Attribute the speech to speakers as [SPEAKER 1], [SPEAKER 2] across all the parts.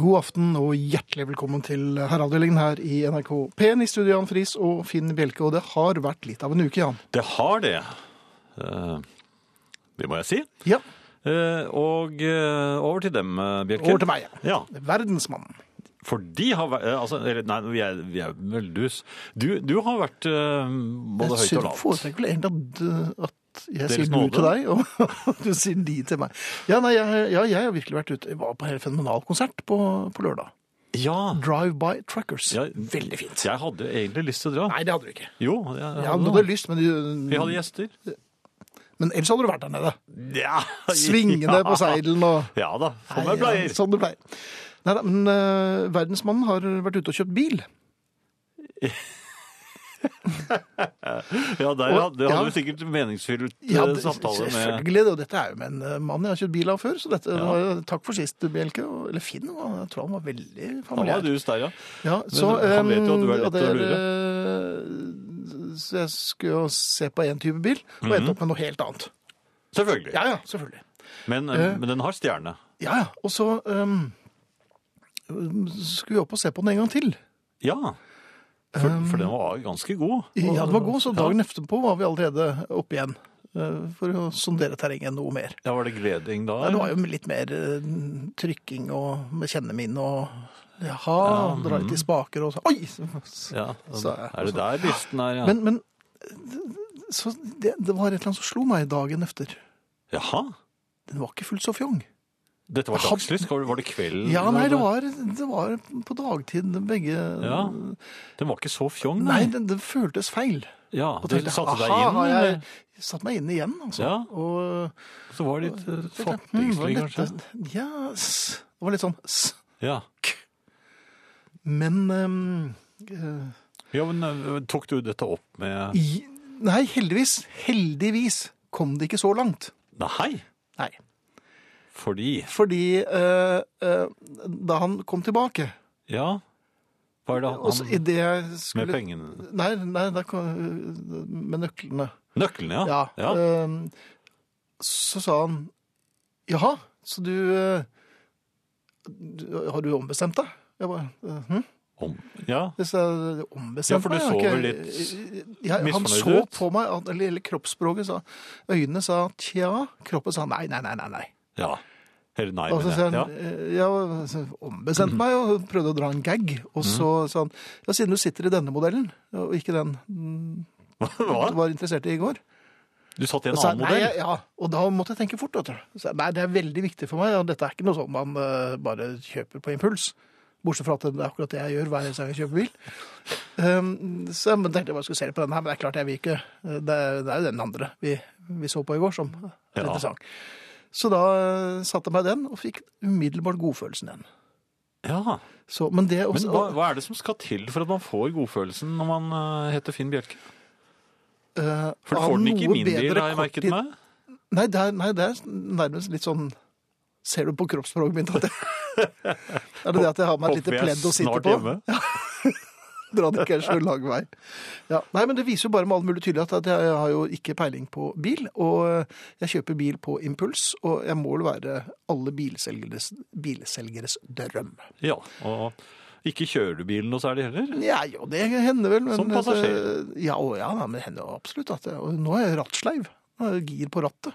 [SPEAKER 1] God aften og hjertelig velkommen til Herreavdelingen her i NRK P1 i studio Jan Friis og Finn Bjelke. Og det har vært litt av en uke, Jan.
[SPEAKER 2] Det har det. Eh, Det må jeg si.
[SPEAKER 1] Ja,
[SPEAKER 2] Eh, Og eh, over til dem, eh, Bjelke.
[SPEAKER 1] Over til meg,
[SPEAKER 2] ja.
[SPEAKER 1] Verdensmannen.
[SPEAKER 2] For de har vært eh, altså, eller, Nei, vi er, vi er vel dus. Du, du har vært eh, både høyt og
[SPEAKER 1] Jeg
[SPEAKER 2] lavt.
[SPEAKER 1] foretrekker vel egentlig at, eh, at jeg
[SPEAKER 2] Deres
[SPEAKER 1] sier
[SPEAKER 2] nåde.
[SPEAKER 1] du til deg, og du sier de til meg. Ja, nei, jeg, ja, jeg har virkelig vært ute. Jeg var på en helt fenomenal konsert på, på lørdag.
[SPEAKER 2] Ja.
[SPEAKER 1] Drive-by Truckers.
[SPEAKER 2] ja.
[SPEAKER 1] Veldig fint.
[SPEAKER 2] Jeg hadde jo egentlig lyst til å dra.
[SPEAKER 1] Nei, det hadde du ikke.
[SPEAKER 2] Jo, jeg hadde,
[SPEAKER 1] Jeg hadde
[SPEAKER 2] det.
[SPEAKER 1] lyst, men, du-
[SPEAKER 2] Vi hadde gjester.
[SPEAKER 1] men ellers hadde du vært der nede.
[SPEAKER 2] Ja.
[SPEAKER 1] Svingende på seilen og
[SPEAKER 2] Ja da. Som
[SPEAKER 1] Nei,
[SPEAKER 2] jeg pleier.
[SPEAKER 1] Ja, sånn det pleier. Nei, da, men eh, verdensmannen har vært ute og kjøpt bil.
[SPEAKER 2] Ja,
[SPEAKER 1] Og-
[SPEAKER 2] der hadde, hadde
[SPEAKER 1] ja.
[SPEAKER 2] du sikkert meningsfylt
[SPEAKER 1] Ja,
[SPEAKER 2] eh,
[SPEAKER 1] det-
[SPEAKER 2] samtale med
[SPEAKER 1] Selvfølgelig, og dette er jo med en eh, mann jeg har kjøpt bil av før, så dette var jo- takk for sist, Bjelke. og- Eller Finn, og jeg tror han var veldig
[SPEAKER 2] Han var
[SPEAKER 1] familiær.
[SPEAKER 2] dus der, ja.
[SPEAKER 1] Ja,
[SPEAKER 2] Men han vet jo at du er
[SPEAKER 1] eh, og
[SPEAKER 2] lett å
[SPEAKER 1] det eh, Så jeg skulle jo se på én type bil, og
[SPEAKER 2] Mhm.
[SPEAKER 1] endte opp med noe helt annet.
[SPEAKER 2] Selvfølgelig.
[SPEAKER 1] Ja, ja, selvfølgelig.
[SPEAKER 2] Men, eh, men den har stjerne.
[SPEAKER 1] Ja, ja. Og så eh, skulle vi opp og se på den en gang til.
[SPEAKER 2] Ja. For,
[SPEAKER 1] Um,
[SPEAKER 2] for den var ganske god.
[SPEAKER 1] Ja, den var god, så
[SPEAKER 2] Ja.
[SPEAKER 1] dagen etterpå var vi allerede oppe igjen eh, for å sondere terrenget noe mer.
[SPEAKER 2] Ja, Var det gleding da?
[SPEAKER 1] Det var jo litt mer eh, trykking og med kjenneminne og jaha, dra
[SPEAKER 2] mhm.
[SPEAKER 1] litt i spaker og så, oi! Så,
[SPEAKER 2] ja.
[SPEAKER 1] så-
[SPEAKER 2] Er det der listen er, ja?
[SPEAKER 1] Men, men så det, det var et eller annet som slo meg dagen efter.
[SPEAKER 2] Jaha?
[SPEAKER 1] Den var ikke fullt så fjong.
[SPEAKER 2] Dette var
[SPEAKER 1] Hadde-
[SPEAKER 2] dagslys? Var det- var Mm, det kvelden?
[SPEAKER 1] Ja, nei, det var, det var på dagtid begge
[SPEAKER 2] Ja. Den var ikke så fjong,
[SPEAKER 1] Nei, det, det føltes feil.
[SPEAKER 2] Ja,
[SPEAKER 1] Og
[SPEAKER 2] Du
[SPEAKER 1] tenkte,
[SPEAKER 2] satte deg
[SPEAKER 1] aha,
[SPEAKER 2] inn?
[SPEAKER 1] har jeg
[SPEAKER 2] eller?
[SPEAKER 1] satt meg inn igjen, altså.
[SPEAKER 2] Ja.
[SPEAKER 1] Og
[SPEAKER 2] Så var det litt eh,
[SPEAKER 1] Hmm, var
[SPEAKER 2] fattigslig, kanskje?
[SPEAKER 1] dette- Ja, s. det var litt sånn s.
[SPEAKER 2] Ja.
[SPEAKER 1] Men ehm, eh,
[SPEAKER 2] ja, men eh, tok du dette opp med
[SPEAKER 1] I, nei, heldigvis. Heldigvis kom det ikke så langt.
[SPEAKER 2] Nei!
[SPEAKER 1] Nei.
[SPEAKER 2] Fordi
[SPEAKER 1] Fordi eh, eh, da han kom tilbake
[SPEAKER 2] Ja. Var det
[SPEAKER 1] og så i
[SPEAKER 2] han
[SPEAKER 1] det jeg skulle...
[SPEAKER 2] med pengene
[SPEAKER 1] Nei, nei da kom, eh, med nøklene.
[SPEAKER 2] Nøklene, Ah, ja.
[SPEAKER 1] Ja. eh, så sa han Jaha, så du, eh, du Har du ombestemt deg? Jeg bare eh, hm?
[SPEAKER 2] Om, ja.
[SPEAKER 1] Hvis jeg ombestemte
[SPEAKER 2] Ja, for du
[SPEAKER 1] meg, jeg
[SPEAKER 2] så
[SPEAKER 1] har ikke-
[SPEAKER 2] vel litt
[SPEAKER 1] Ja, Han
[SPEAKER 2] misfornøyd
[SPEAKER 1] så
[SPEAKER 2] ut?
[SPEAKER 1] på meg, at- eller, eller kroppsspråket sa Øynene sa tja, kroppen sa nei, nei, nei, nei. nei.
[SPEAKER 2] ja. Eller nei,
[SPEAKER 1] Og så
[SPEAKER 2] men
[SPEAKER 1] sa han,
[SPEAKER 2] ja.
[SPEAKER 1] eh, ja, så ombestemte meg og prøvde å dra en gag. Og
[SPEAKER 2] Mhm.
[SPEAKER 1] så sa han, ja, siden du sitter i denne modellen, og ikke den mm, du
[SPEAKER 2] Hva?
[SPEAKER 1] var interessert i i går.
[SPEAKER 2] Du satt i en
[SPEAKER 1] Så sa jeg, nei,
[SPEAKER 2] annen modell?
[SPEAKER 1] jeg- ja, og da måtte jeg tenke fort. vet du. Så jeg, nei, det er veldig viktig for meg, og dette er ikke noe sånn man eh, bare kjøper på impuls. Bortsett fra at det er akkurat det jeg gjør hver eneste gang jeg kjøper bil. Um, så jeg tenkte jeg bare skulle se litt på denne her, men det er klart jeg vil ikke. eh, Det er, det er jo den andre vi, vi så på i går som er
[SPEAKER 2] Ja.
[SPEAKER 1] interessant. Så da eh, satte jeg meg den, og fikk umiddelbart godfølelsen igjen.
[SPEAKER 2] Ja.
[SPEAKER 1] Så, men det
[SPEAKER 2] Men
[SPEAKER 1] også,
[SPEAKER 2] hva, hva er det som skal til for at man får godfølelsen når man eh, heter Finn Bjelke?
[SPEAKER 1] eh,
[SPEAKER 2] For du
[SPEAKER 1] av
[SPEAKER 2] får den ikke i
[SPEAKER 1] noe
[SPEAKER 2] min bil,
[SPEAKER 1] bedre
[SPEAKER 2] har jeg merket
[SPEAKER 1] korttid-
[SPEAKER 2] meg.
[SPEAKER 1] Nei, det er, nei, det er nærmest litt sånn Ser du på kroppsspråket mitt at jeg Er det det at jeg har meg et
[SPEAKER 2] Håper
[SPEAKER 1] lite
[SPEAKER 2] jeg
[SPEAKER 1] pledd å sitte
[SPEAKER 2] snart
[SPEAKER 1] på?
[SPEAKER 2] hjemme.
[SPEAKER 1] Dra det ikke en så lang vei. Ja. Nei, men det viser jo bare med all mulig tydelighet at jeg har jo ikke peiling på bil. Og jeg kjøper bil på impuls, og jeg må vel være alle bilselgeres, bilselgeres drøm.
[SPEAKER 2] Ja, og ikke kjører du bilen noe særlig heller?
[SPEAKER 1] Ja, jo, det hender vel. Men, altså,
[SPEAKER 2] Som passasjer.
[SPEAKER 1] Ja, å, ja, nei, men det hender jo absolutt. At jeg, og nå er jeg rattsleiv. Nå er jeg Gir på rattet.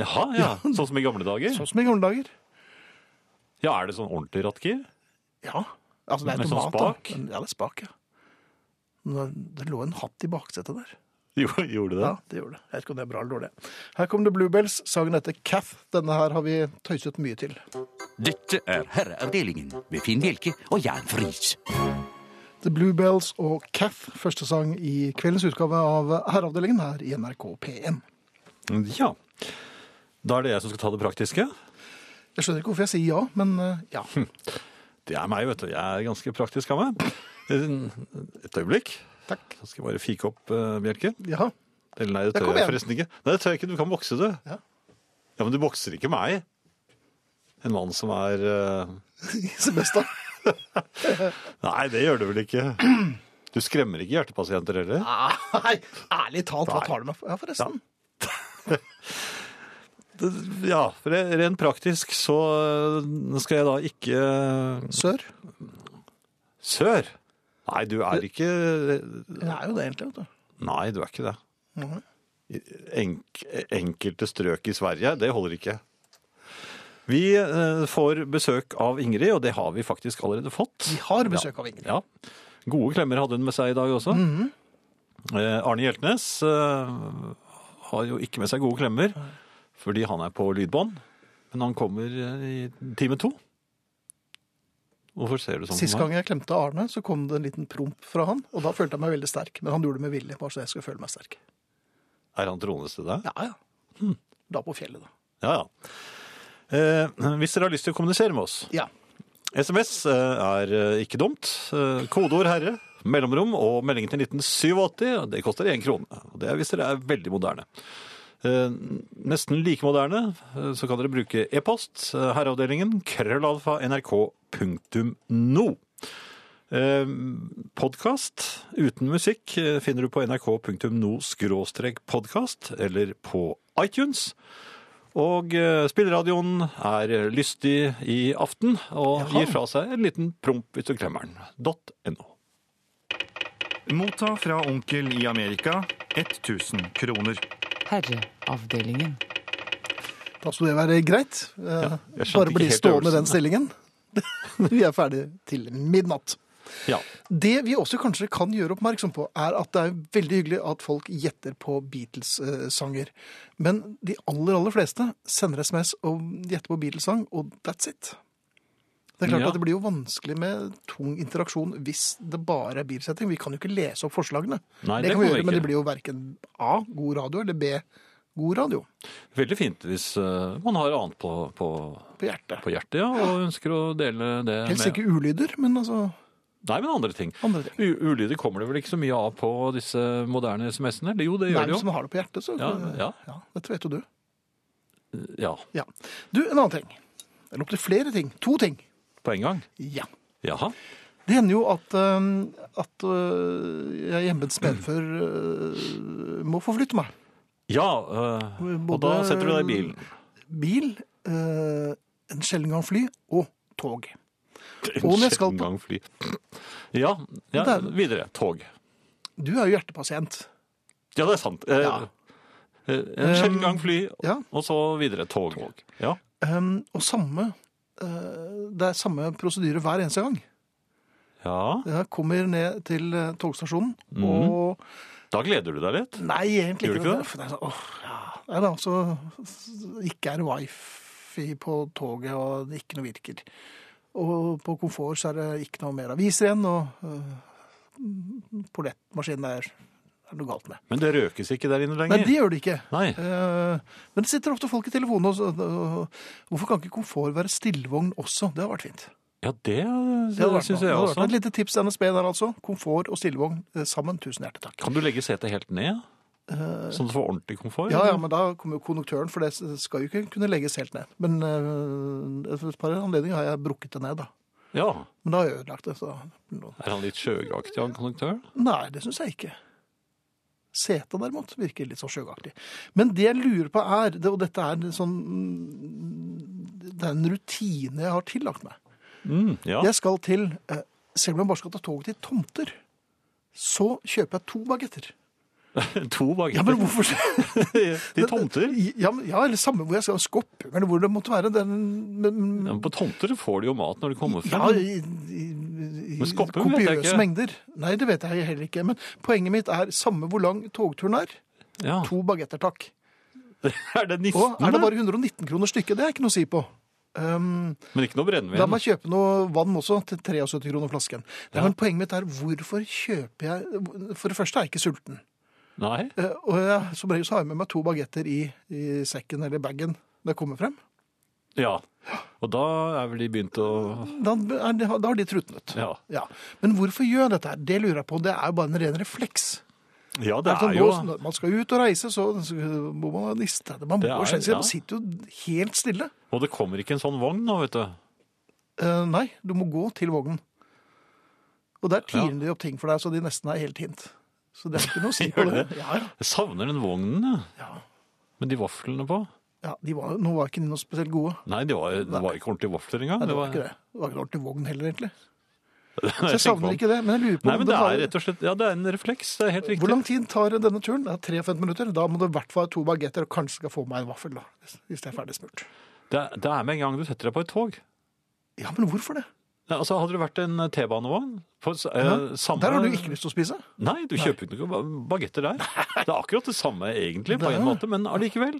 [SPEAKER 2] Jaha, ja. Sånn som i gamle dager?
[SPEAKER 1] Sånn som i gamle dager.
[SPEAKER 2] Ja, er det sånn ordentlig rattgir?
[SPEAKER 1] Ja. Altså, det er
[SPEAKER 2] Med sånn
[SPEAKER 1] automat, da.
[SPEAKER 2] spak?
[SPEAKER 1] Men- Ja, det er spak, ja. Men Det det lå en hatt i baksetet der.
[SPEAKER 2] Jo, gjorde det?
[SPEAKER 1] Ja, det gjorde det. Jeg vet ikke om det er bra eller dårlig. Her kommer det Bluebells. Sangen heter Cath. Denne her har vi tøyset mye til.
[SPEAKER 3] Dette er Herreavdelingen med Finn Bjelke og Jan Friis.
[SPEAKER 1] The Bluebells og Cath, første sang i kveldens utgave av Herreavdelingen her i NRK P1.
[SPEAKER 2] Ja. Da er det jeg som skal ta det praktiske.
[SPEAKER 1] Jeg skjønner ikke hvorfor jeg sier ja, men eh, ja.
[SPEAKER 2] Hm. Det er meg, vet du. Jeg er ganske praktisk av meg. Et øyeblikk.
[SPEAKER 1] Takk.
[SPEAKER 2] Så skal jeg bare fike opp eh, Bjelke.
[SPEAKER 1] Ja.
[SPEAKER 2] Eller nei, det
[SPEAKER 1] Ja,
[SPEAKER 2] tør
[SPEAKER 1] kom
[SPEAKER 2] jeg
[SPEAKER 1] igjen.
[SPEAKER 2] forresten ikke. Nei, det tør jeg ikke. Du kan bokse, du.
[SPEAKER 1] Ja.
[SPEAKER 2] Ja, men du bokser ikke meg. En mann som er eh,
[SPEAKER 1] Semester.
[SPEAKER 2] Nei, det gjør du vel ikke. Du skremmer ikke hjertepasienter heller?
[SPEAKER 1] Ah, Nei, ærlig talt, hva tar du meg for? Ja, forresten.
[SPEAKER 2] Ja, for det- rent praktisk så eh, skal jeg da ikke eh,
[SPEAKER 1] Sør.
[SPEAKER 2] Sør? Nei, du er ikke
[SPEAKER 1] Det er jo det, egentlig. vet du.
[SPEAKER 2] Nei, du er ikke det. Enk, enkelte strøk i Sverige, det holder ikke. Vi eh, får besøk av Ingrid, og det har vi faktisk allerede fått.
[SPEAKER 1] Vi har besøk av Ingrid.
[SPEAKER 2] Ja. Gode klemmer hadde hun med seg i dag også.
[SPEAKER 1] Mhm.
[SPEAKER 2] eh, Arne Hjeltnes eh, har jo ikke med seg gode klemmer, fordi han er på lydbånd. Men han kommer eh, i time to. Hvorfor ser du sånn
[SPEAKER 1] Sist
[SPEAKER 2] på meg?
[SPEAKER 1] gang jeg klemte Arne, så kom det en liten promp fra han. Og da følte jeg meg veldig sterk. Men han gjorde det med vilje, bare så jeg skulle føle meg sterk. Hmm.
[SPEAKER 2] Er han troende til deg?
[SPEAKER 1] Ja, ja. Da på fjellet, da.
[SPEAKER 2] Ja, ja. Eh, hvis dere har lyst til å kommunisere med oss,
[SPEAKER 1] Ja.
[SPEAKER 2] SMS eh, er eh, ikke dumt. Eh, Kodeord herre, mellomrom og meldingen til 1987. Det koster én krone. Og Det er hvis dere er veldig moderne. Eh, Nesten like moderne eh, så kan dere bruke e-post. eh, Herreavdelingen krøllalfa nrk.no. Podkast Eh, uten musikk eh, finner du på nrk.no-podkast eller på iTunes. Og eh, spilleradioen er lystig i aften og
[SPEAKER 1] Jaha.
[SPEAKER 2] gir fra seg en liten promp hvis du klemmer den. .no.
[SPEAKER 4] Motta fra onkel i Amerika 1000 kroner.
[SPEAKER 5] Herreavdelingen.
[SPEAKER 1] Da skulle det være greit. Eh,
[SPEAKER 2] jeg skjønte
[SPEAKER 1] Bare
[SPEAKER 2] ikke
[SPEAKER 1] bli
[SPEAKER 2] helt
[SPEAKER 1] stående i den
[SPEAKER 2] øvelsen.
[SPEAKER 1] stillingen. Vi er ferdig til midnatt.
[SPEAKER 2] Ja.
[SPEAKER 1] Det vi også kanskje kan gjøre oppmerksom på, er at det er veldig hyggelig at folk gjetter på Beatles-sanger. Men de aller, aller fleste sender SMS og gjetter på Beatles-sang, og that's it. Det er klart
[SPEAKER 2] Ja.
[SPEAKER 1] at det blir jo vanskelig med tung interaksjon hvis det bare er Beatles-setting. Vi kan jo ikke lese opp forslagene.
[SPEAKER 2] Nei,
[SPEAKER 1] det, kan vi
[SPEAKER 2] det kan vi
[SPEAKER 1] gjøre, men
[SPEAKER 2] ikke.
[SPEAKER 1] det blir jo verken A, god radio, eller B, god radio.
[SPEAKER 2] Veldig fint hvis eh, man har annet på, på,
[SPEAKER 1] På hjertet.
[SPEAKER 2] på hjertet ja, og ønsker å dele det
[SPEAKER 1] Helst ikke ulyder, men altså
[SPEAKER 2] Nei, men andre ting.
[SPEAKER 1] andre ting.
[SPEAKER 2] U- Ulyder kommer det vel ikke så mye av på disse moderne SMS-ene? Eller Jo, det
[SPEAKER 1] Nei,
[SPEAKER 2] gjør det
[SPEAKER 1] men
[SPEAKER 2] jo.
[SPEAKER 1] som har det på hjertet, så
[SPEAKER 2] Ja, ja.
[SPEAKER 1] Dette vet jo du.
[SPEAKER 2] Ja,
[SPEAKER 1] Ja. Du, en annen ting. Eller opptil flere ting. To ting.
[SPEAKER 2] På en gang.
[SPEAKER 1] Ja.
[SPEAKER 2] Jaha.
[SPEAKER 1] Det hender jo at, øhm, at øh, jeg hjemmets medfør øh, må forflytte meg.
[SPEAKER 2] Ja, eh, og
[SPEAKER 1] Både-
[SPEAKER 2] da setter du deg i bilen.
[SPEAKER 1] Bil, øh, en sjelden gang fly og tog. Og når jeg skal
[SPEAKER 2] Sjelden
[SPEAKER 1] på-
[SPEAKER 2] gang fly. Ja, ja,
[SPEAKER 1] Det er-
[SPEAKER 2] videre. Tog.
[SPEAKER 1] Du er jo hjertepasient.
[SPEAKER 2] Ja, det er sant. Eh,
[SPEAKER 1] Ja.
[SPEAKER 2] eh, En sjelden gang fly,
[SPEAKER 1] Ja.
[SPEAKER 2] og så videre tog. Ja.
[SPEAKER 1] Øhm, og samme øh, Det er samme prosedyre hver eneste gang.
[SPEAKER 2] ja,
[SPEAKER 1] Jeg kommer ned til øh, togstasjonen, og
[SPEAKER 2] da gleder du deg litt.
[SPEAKER 1] Nei, egentlig
[SPEAKER 2] Gjør
[SPEAKER 1] ikke.
[SPEAKER 2] du ikke
[SPEAKER 1] men for Det er sånn, åh, ja. Nei, da, så ikke er det wifi på toget, og det ikke noe virker. Og på komfort så er det ikke noe mer aviser igjen, og uh, pollettmaskinen er, er noe galt med.
[SPEAKER 2] Men det røkes ikke der inne lenger.
[SPEAKER 1] Nei, det gjør det ikke.
[SPEAKER 2] Nei.
[SPEAKER 1] Eh, men det sitter ofte folk i telefonen også. og- Hvorfor kan ikke komfort være stillevogn også? Det har vært fint.
[SPEAKER 2] Ja, det,
[SPEAKER 1] Det har vært
[SPEAKER 2] syns
[SPEAKER 1] noe.
[SPEAKER 2] jeg
[SPEAKER 1] Det har vært
[SPEAKER 2] også.
[SPEAKER 1] noe. Et lite tips til NSB der altså. Komfort og stillevogn eh, sammen. Tusen hjertelig takk.
[SPEAKER 2] Kan du legge setet helt ned? Sånn at du får ordentlig komfort?
[SPEAKER 1] Eh, Ja, ja, men da kommer jo konduktøren, for det skal jo ikke kunne legges helt ned. Men øh, et par anledninger har jeg brukket det ned, da.
[SPEAKER 2] Ja.
[SPEAKER 1] Men da har jeg ødelagt det. Så.
[SPEAKER 2] Er han litt sjøgaktig, han konduktøren?
[SPEAKER 1] Nei, det syns jeg ikke. Setet derimot virker litt sånn sjøgaktig. Men det jeg lurer på er, det, og dette er en sånn Det er en rutine jeg har tillagt meg. Hm.
[SPEAKER 2] Mm, ja.
[SPEAKER 1] Jeg skal til eh, Selv om jeg bare skal ta toget til Tomter, så kjøper jeg to bagetter.
[SPEAKER 2] To bagetter.
[SPEAKER 1] Ja, men hvorfor
[SPEAKER 2] De tomter.
[SPEAKER 1] Ja, men- ja, eller samme hvor jeg skal. Skopphugger, eller hvor det måtte være. Den, men,
[SPEAKER 2] Ja, men på tomter får de jo mat når de kommer
[SPEAKER 1] Ja,
[SPEAKER 2] frem.
[SPEAKER 1] i, i, i
[SPEAKER 2] Men Skoppum vet jeg
[SPEAKER 1] kopiøse
[SPEAKER 2] ikke.
[SPEAKER 1] mengder. Nei, det vet jeg heller ikke. Men poenget mitt er samme hvor lang togturen er.
[SPEAKER 2] Ja.
[SPEAKER 1] To bagetter, takk.
[SPEAKER 2] Er det nissen,
[SPEAKER 1] Og er det
[SPEAKER 2] da?
[SPEAKER 1] bare 119 kroner stykket? Det er ikke noe å si på. Um,
[SPEAKER 2] Men ikke noe
[SPEAKER 1] la
[SPEAKER 2] brennevin?
[SPEAKER 1] meg kjøpe noe vann også, til 73 kroner flasken. Nei, Men poenget mitt er hvorfor kjøper jeg For det første er jeg ikke sulten.
[SPEAKER 2] Nei.
[SPEAKER 1] Eh, Og jeg, som regel så har jeg med meg to bagetter i, i sekken eller bagen når jeg kommer frem.
[SPEAKER 2] Ja. Og da er vel de begynt å
[SPEAKER 1] Da, er, det- da har de trutnet.
[SPEAKER 2] Ja.
[SPEAKER 1] Ja. Men hvorfor gjør jeg dette her? Det lurer jeg på. Det er jo bare en ren refleks.
[SPEAKER 2] Ja, det
[SPEAKER 1] Altså, nå,
[SPEAKER 2] er jo
[SPEAKER 1] Når man skal ut og reise, så så må man niste. Man,
[SPEAKER 2] Det
[SPEAKER 1] må
[SPEAKER 2] er-
[SPEAKER 1] jo skjønne seg.
[SPEAKER 2] ja.
[SPEAKER 1] man sitter jo helt stille.
[SPEAKER 2] Og det kommer ikke en sånn vogn nå, vet du.
[SPEAKER 1] Eh, nei, du må gå til vognen. Og der tiner de opp ting for deg, så de nesten er helt hint. Så det er ikke noe å si på
[SPEAKER 2] Gjør
[SPEAKER 1] det.
[SPEAKER 2] det?
[SPEAKER 1] Ja, ja.
[SPEAKER 2] Jeg savner den vognen, jeg.
[SPEAKER 1] Ja.
[SPEAKER 2] Med de vaflene på.
[SPEAKER 1] Ja, de var, nå var ikke de noe spesielt gode.
[SPEAKER 2] Nei, det var, det var ikke ordentlige vafler engang.
[SPEAKER 1] Nei, det var ikke det. Det var ikke en ordentlig vogn heller, egentlig. Så jeg savner ikke det, men jeg lurer på
[SPEAKER 2] Nei,
[SPEAKER 1] om
[SPEAKER 2] men det
[SPEAKER 1] var-
[SPEAKER 2] er rett og slett Ja, det er en refleks. Det er helt riktig.
[SPEAKER 1] Hvor lang tid tar denne turen? Det er 53 minutter. Da må det i hvert fall ha to bagetter, og kanskje skal jeg få meg en vaffel, da, hvis det er ferdig smurt.
[SPEAKER 2] Det, er- det er med en gang du setter deg på et tog.
[SPEAKER 1] Ja, men hvorfor det?
[SPEAKER 2] Nei, Altså, Hadde det vært en T-banevogn på s- eh, samme
[SPEAKER 1] Der har du ikke lyst til å spise.
[SPEAKER 2] Nei, du kjøper ikke noen bagetter der. Det er akkurat det samme egentlig, på
[SPEAKER 1] Det er
[SPEAKER 2] en
[SPEAKER 1] det.
[SPEAKER 2] måte, men allikevel.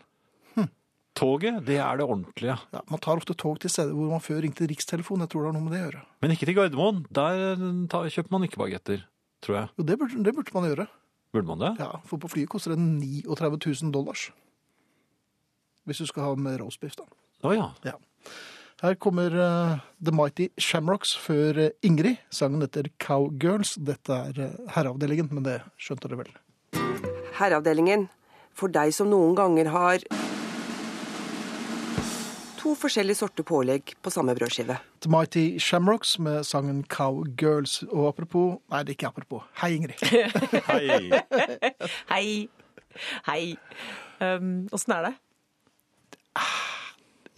[SPEAKER 1] Hm.
[SPEAKER 2] Toget, det er det ordentlige.
[SPEAKER 1] Ja, man tar ofte tog til steder hvor man før ringte Rikstelefonen. Jeg tror det har noe med det å gjøre.
[SPEAKER 2] Men ikke til Gardermoen. Der ta, kjøper man ikke bagetter, tror jeg.
[SPEAKER 1] Jo, det burde, det burde man gjøre.
[SPEAKER 2] Burde man det?
[SPEAKER 1] Ja, For på flyet koster det 39 000 dollars. Hvis du skal ha med roastbiff, da.
[SPEAKER 2] Å ja.
[SPEAKER 1] Her kommer eh, The Mighty Shamrocks før eh, Ingrid. Sangen heter Cowgirls. Dette er eh, herreavdelingen, men det skjønte dere vel.
[SPEAKER 6] Herreavdelingen, for deg som noen ganger har to forskjellige sorter pålegg på samme brødskive.
[SPEAKER 1] The Mighty Shamrocks med sangen Cowgirls. Og apropos Nei, det er ikke apropos. Hei, Ingrid.
[SPEAKER 2] Hei.
[SPEAKER 7] Hei. Hei. Åssen er det?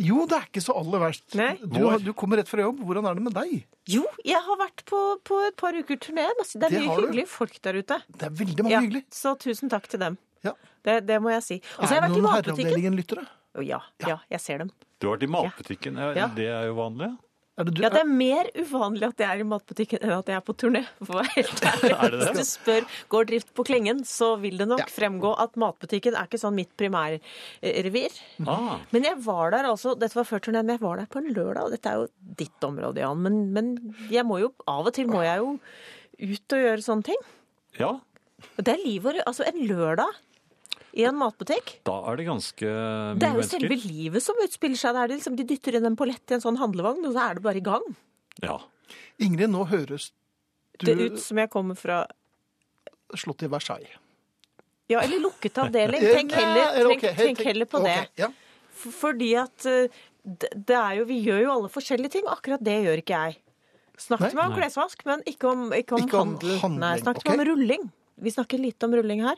[SPEAKER 1] Jo, det er ikke så aller verst.
[SPEAKER 7] Nei.
[SPEAKER 1] Du, du kommer rett fra jobb. Hvordan er det med deg?
[SPEAKER 7] Jo, jeg har vært på, på et par uker turné. Masse- Det er
[SPEAKER 1] Det
[SPEAKER 7] mye
[SPEAKER 1] har du.
[SPEAKER 7] hyggelige folk der ute.
[SPEAKER 1] Det er veldig mange
[SPEAKER 7] Ja,
[SPEAKER 1] hyggelig.
[SPEAKER 7] så tusen takk til dem.
[SPEAKER 1] Ja.
[SPEAKER 7] Det, det må jeg si. Og så har
[SPEAKER 1] er
[SPEAKER 7] jeg
[SPEAKER 1] det
[SPEAKER 7] vært i
[SPEAKER 1] noen
[SPEAKER 7] matbutikken.
[SPEAKER 1] herreavdelingen-lyttere?
[SPEAKER 7] Å, ja, ja, jeg ser dem.
[SPEAKER 2] Du har vært i matbutikken. Ja,
[SPEAKER 7] Ja.
[SPEAKER 2] Det er jo vanlig.
[SPEAKER 1] Er det du?
[SPEAKER 7] Ja, Det er mer uvanlig at jeg er i matbutikken enn at jeg er på turné. For å være helt
[SPEAKER 2] Er det
[SPEAKER 7] ærlig.
[SPEAKER 2] det?
[SPEAKER 7] Hvis du spør går drift på Klengen, så vil det nok
[SPEAKER 1] Ja.
[SPEAKER 7] fremgå at matbutikken er ikke sånn mitt primærrevir.
[SPEAKER 2] Ah,
[SPEAKER 7] Men jeg var der altså, dette var før turneen, men jeg var der på en lørdag. og Dette er jo ditt område, Jan, men, men jeg må jo, av og til må jeg jo ut og gjøre sånne ting.
[SPEAKER 2] ja,
[SPEAKER 7] Og Det er livet, å- altså en lørdag i en matbutikk.
[SPEAKER 2] da er det ganske mye
[SPEAKER 7] Det er jo
[SPEAKER 2] mennesker.
[SPEAKER 7] selve livet som utspiller seg der. Det er liksom, de dytter inn en pollett i en sånn handlevogn, og så er det bare i gang.
[SPEAKER 2] Ja.
[SPEAKER 1] Ingrid, nå høres du
[SPEAKER 7] Det ut som jeg kommer fra
[SPEAKER 1] slått i Versailles.
[SPEAKER 7] Ja, eller lukket avdeling.
[SPEAKER 1] Eh,
[SPEAKER 7] Tenk
[SPEAKER 1] nei,
[SPEAKER 7] heller,
[SPEAKER 1] eller
[SPEAKER 7] tenk,
[SPEAKER 1] ok, helt-
[SPEAKER 7] tenk heller på det.
[SPEAKER 1] ok, ja.
[SPEAKER 7] F- Fordi at eh, det det er jo, vi gjør jo alle forskjellige ting. Akkurat det gjør ikke jeg.
[SPEAKER 1] Nei.
[SPEAKER 7] Snakket meg om klesvask, men ikke om, ikke om
[SPEAKER 1] Ikke om
[SPEAKER 7] handel.
[SPEAKER 1] handling,
[SPEAKER 7] Nei, snakket
[SPEAKER 1] ok.
[SPEAKER 7] meg om rulling. Vi snakker lite om rulling her.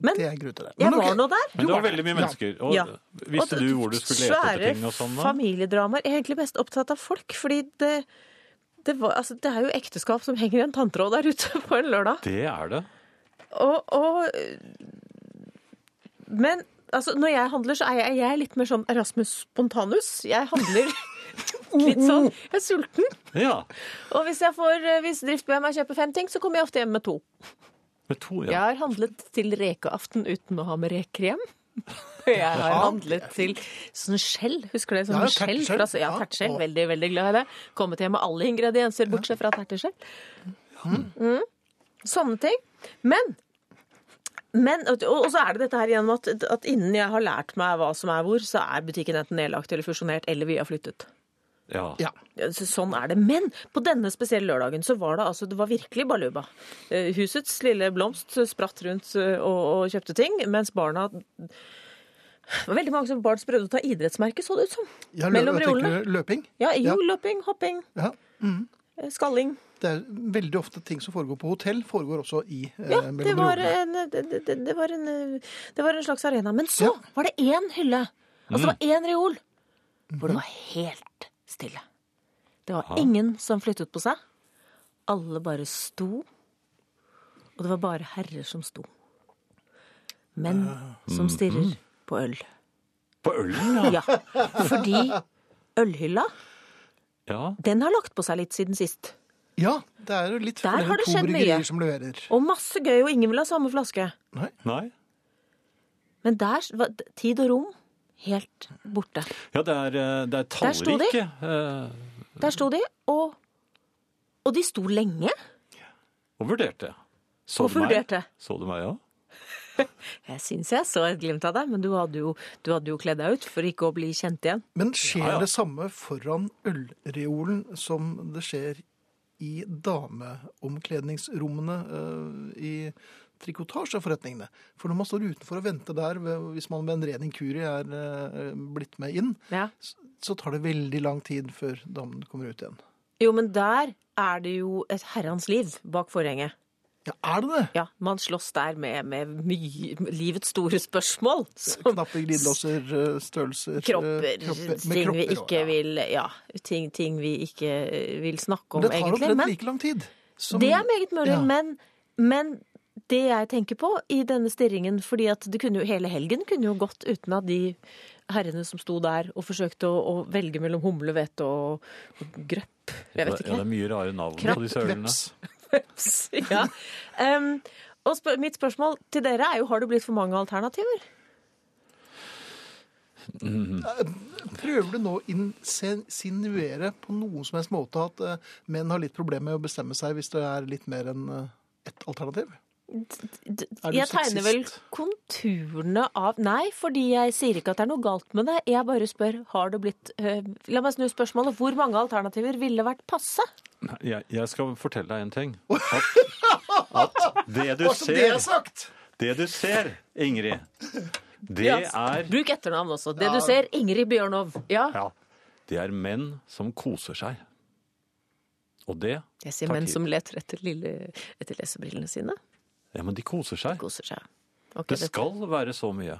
[SPEAKER 7] Men
[SPEAKER 1] Det er en grunn til det.
[SPEAKER 7] jeg
[SPEAKER 1] Men ok.
[SPEAKER 7] var nå der.
[SPEAKER 2] Men det var veldig mye mennesker. Og
[SPEAKER 7] Ja.
[SPEAKER 2] visste
[SPEAKER 7] Og
[SPEAKER 2] du
[SPEAKER 7] det-
[SPEAKER 2] hvor du skulle lete etter ting og sånn?
[SPEAKER 7] Svære
[SPEAKER 2] da?
[SPEAKER 7] familiedramaer. Jeg er egentlig mest opptatt av folk, fordi det, det, var, altså, det er jo ekteskap som henger i en tanntråd der ute på en lørdag.
[SPEAKER 2] Det er det.
[SPEAKER 7] Og, og Men altså, når jeg handler, så er jeg, jeg er litt mer sånn Erasmus spontanus. Jeg handler litt sånn Jeg er sulten.
[SPEAKER 2] Ja.
[SPEAKER 7] Og hvis, jeg får, hvis drift ber meg kjøpe fem ting, så kommer jeg ofte hjem med to.
[SPEAKER 2] Med to,
[SPEAKER 7] Jeg
[SPEAKER 2] ja.
[SPEAKER 7] har handlet til rekeaften uten å ha med reker hjem. Jeg har handlet til sånn skjell, husker du det?
[SPEAKER 1] Ja,
[SPEAKER 7] Sånn
[SPEAKER 1] ja,
[SPEAKER 7] skjell
[SPEAKER 1] terteskjell.
[SPEAKER 7] fra, ja,
[SPEAKER 1] Ja,
[SPEAKER 7] terteskjell.
[SPEAKER 1] og-
[SPEAKER 7] Veldig, veldig glad i det. Kommet hjem med alle ingredienser, bortsett fra terteskjell. Mm. Sånne ting. Men, men og, og så er det dette her igjen med at, at innen jeg har lært meg hva som er hvor, så er butikken enten nedlagt eller fusjonert, eller vi har flyttet.
[SPEAKER 2] ja.
[SPEAKER 1] Ja.
[SPEAKER 7] Så Sånn er det. Men på denne spesielle lørdagen så var det altså, det var virkelig baluba. Eh, Husets lille blomst spratt rundt eh, og, og kjøpte ting, mens barna Det var veldig mange som barn som prøvde å ta idrettsmerket, så det ut som.
[SPEAKER 1] Ja, lø-
[SPEAKER 7] Mellom
[SPEAKER 1] jeg tenker
[SPEAKER 7] reolene.
[SPEAKER 1] Løping.
[SPEAKER 7] Ja,
[SPEAKER 1] Ja.
[SPEAKER 7] jordløping, hopping,
[SPEAKER 1] Ja.
[SPEAKER 7] eh, skalling.
[SPEAKER 1] Det er veldig ofte ting som foregår på hotell, foregår også i eh,
[SPEAKER 7] Ja,
[SPEAKER 1] mellom
[SPEAKER 7] det var,
[SPEAKER 1] reolene.
[SPEAKER 7] en, det, det, det- det, var en, eh, det var en slags arena. Men så var det én hylle. Altså det var
[SPEAKER 1] Mm.
[SPEAKER 7] én reol hvor det
[SPEAKER 1] Mhm.
[SPEAKER 7] var helt stille. Det var ingen som flyttet på seg. Alle bare sto. Og det var bare herrer som sto. Menn
[SPEAKER 1] Ah.
[SPEAKER 7] som stirrer
[SPEAKER 1] Mm-hmm.
[SPEAKER 7] på øl.
[SPEAKER 2] På ølen, ja.
[SPEAKER 7] Ja, fordi ølhylla,
[SPEAKER 2] ja.
[SPEAKER 7] den har lagt på seg litt siden sist.
[SPEAKER 1] Ja, det er jo litt
[SPEAKER 7] Der
[SPEAKER 1] flere
[SPEAKER 7] har det
[SPEAKER 1] to
[SPEAKER 7] skjedd mye.
[SPEAKER 1] bryggerier som leverer.
[SPEAKER 7] Og masse gøy, og ingen vil ha samme flaske.
[SPEAKER 2] Nei.
[SPEAKER 7] Men der var tid og rom helt borte.
[SPEAKER 2] Ja, det er, eh, det er
[SPEAKER 7] Der sto de.
[SPEAKER 2] tallrike. eh,
[SPEAKER 7] Der sto de, og, og de sto lenge
[SPEAKER 2] Og vurderte. Så
[SPEAKER 7] og
[SPEAKER 2] du meg?
[SPEAKER 7] vurderte.
[SPEAKER 2] Så du meg, ja?
[SPEAKER 7] Jeg syns jeg så et glimt av deg, men du hadde jo, du hadde jo kledd deg ut for ikke å bli kjent igjen.
[SPEAKER 1] Men skjer
[SPEAKER 2] Ja, ja.
[SPEAKER 1] det samme foran ølreolen som det skjer i dameomkledningsrommene eh, i trikotasjeforretningene? For når man står utenfor og venter der, ved- hvis man med en ren inkurie er eh, blitt med inn,
[SPEAKER 7] Ja.
[SPEAKER 1] s- så tar det veldig lang tid før damene kommer ut igjen.
[SPEAKER 7] Jo, men der er det jo et herrens liv bak forhenget.
[SPEAKER 1] Ja, er det det?
[SPEAKER 7] Ja, man slåss der med, med mye, livets store spørsmål. Som
[SPEAKER 1] Knappe glidelåser, eh, størrelser eh,
[SPEAKER 7] Sånn kropper,
[SPEAKER 1] kropper- med
[SPEAKER 7] ting vi
[SPEAKER 1] kropper,
[SPEAKER 7] ikke
[SPEAKER 1] ja.
[SPEAKER 7] vil Ja, ting, ting vi ikke eh, vil snakke om,
[SPEAKER 1] Det tar
[SPEAKER 7] egentlig.
[SPEAKER 1] omtrent
[SPEAKER 7] Men
[SPEAKER 1] like lang tid. som-
[SPEAKER 7] det er meget mulig.
[SPEAKER 1] Ja.
[SPEAKER 7] Men, men det jeg tenker på i denne stirringen fordi at det kunne jo, Hele helgen kunne jo gått uten at de herrene som sto der og forsøkte å, å velge mellom humlevett og, og grøpp. Jeg vet
[SPEAKER 2] Ja,
[SPEAKER 7] ikke.
[SPEAKER 2] det er mye rare navn
[SPEAKER 7] Krapp,
[SPEAKER 2] på disse ølene.
[SPEAKER 1] Veps.
[SPEAKER 7] Ja. Em, og spør, mitt spørsmål til dere er jo har det blitt for mange alternativer.
[SPEAKER 1] Prøver du nå å insinuere på noen som helst måte at eh, menn har litt problemer med å bestemme seg hvis det er litt mer enn eh, ett alternativ?
[SPEAKER 7] D-
[SPEAKER 1] Er du
[SPEAKER 7] Jeg tegner vel
[SPEAKER 1] sexist?
[SPEAKER 7] konturene av Nei, fordi jeg sier ikke at det er noe galt med det. Jeg bare spør har det blitt eh, La meg snu spørsmålet. Hvor mange alternativer ville vært passe?
[SPEAKER 2] Nei, Jeg, jeg skal fortelle deg en ting. At, at det du
[SPEAKER 1] Hva som det
[SPEAKER 2] ser,
[SPEAKER 1] er sagt?
[SPEAKER 2] det du ser, Ingrid, det er
[SPEAKER 7] Bruk etternavn også. Det du ser, Ingrid Bjørnov. Ja.
[SPEAKER 2] ja, det er menn som koser seg. Og det
[SPEAKER 7] Jeg sier
[SPEAKER 2] Tar
[SPEAKER 7] menn
[SPEAKER 2] tid.
[SPEAKER 7] som leter etter, lille, etter lesebrillene sine.
[SPEAKER 2] Ja, men de koser seg.
[SPEAKER 7] Koser seg. Ok,
[SPEAKER 2] Det
[SPEAKER 7] dette-
[SPEAKER 2] skal være så mye.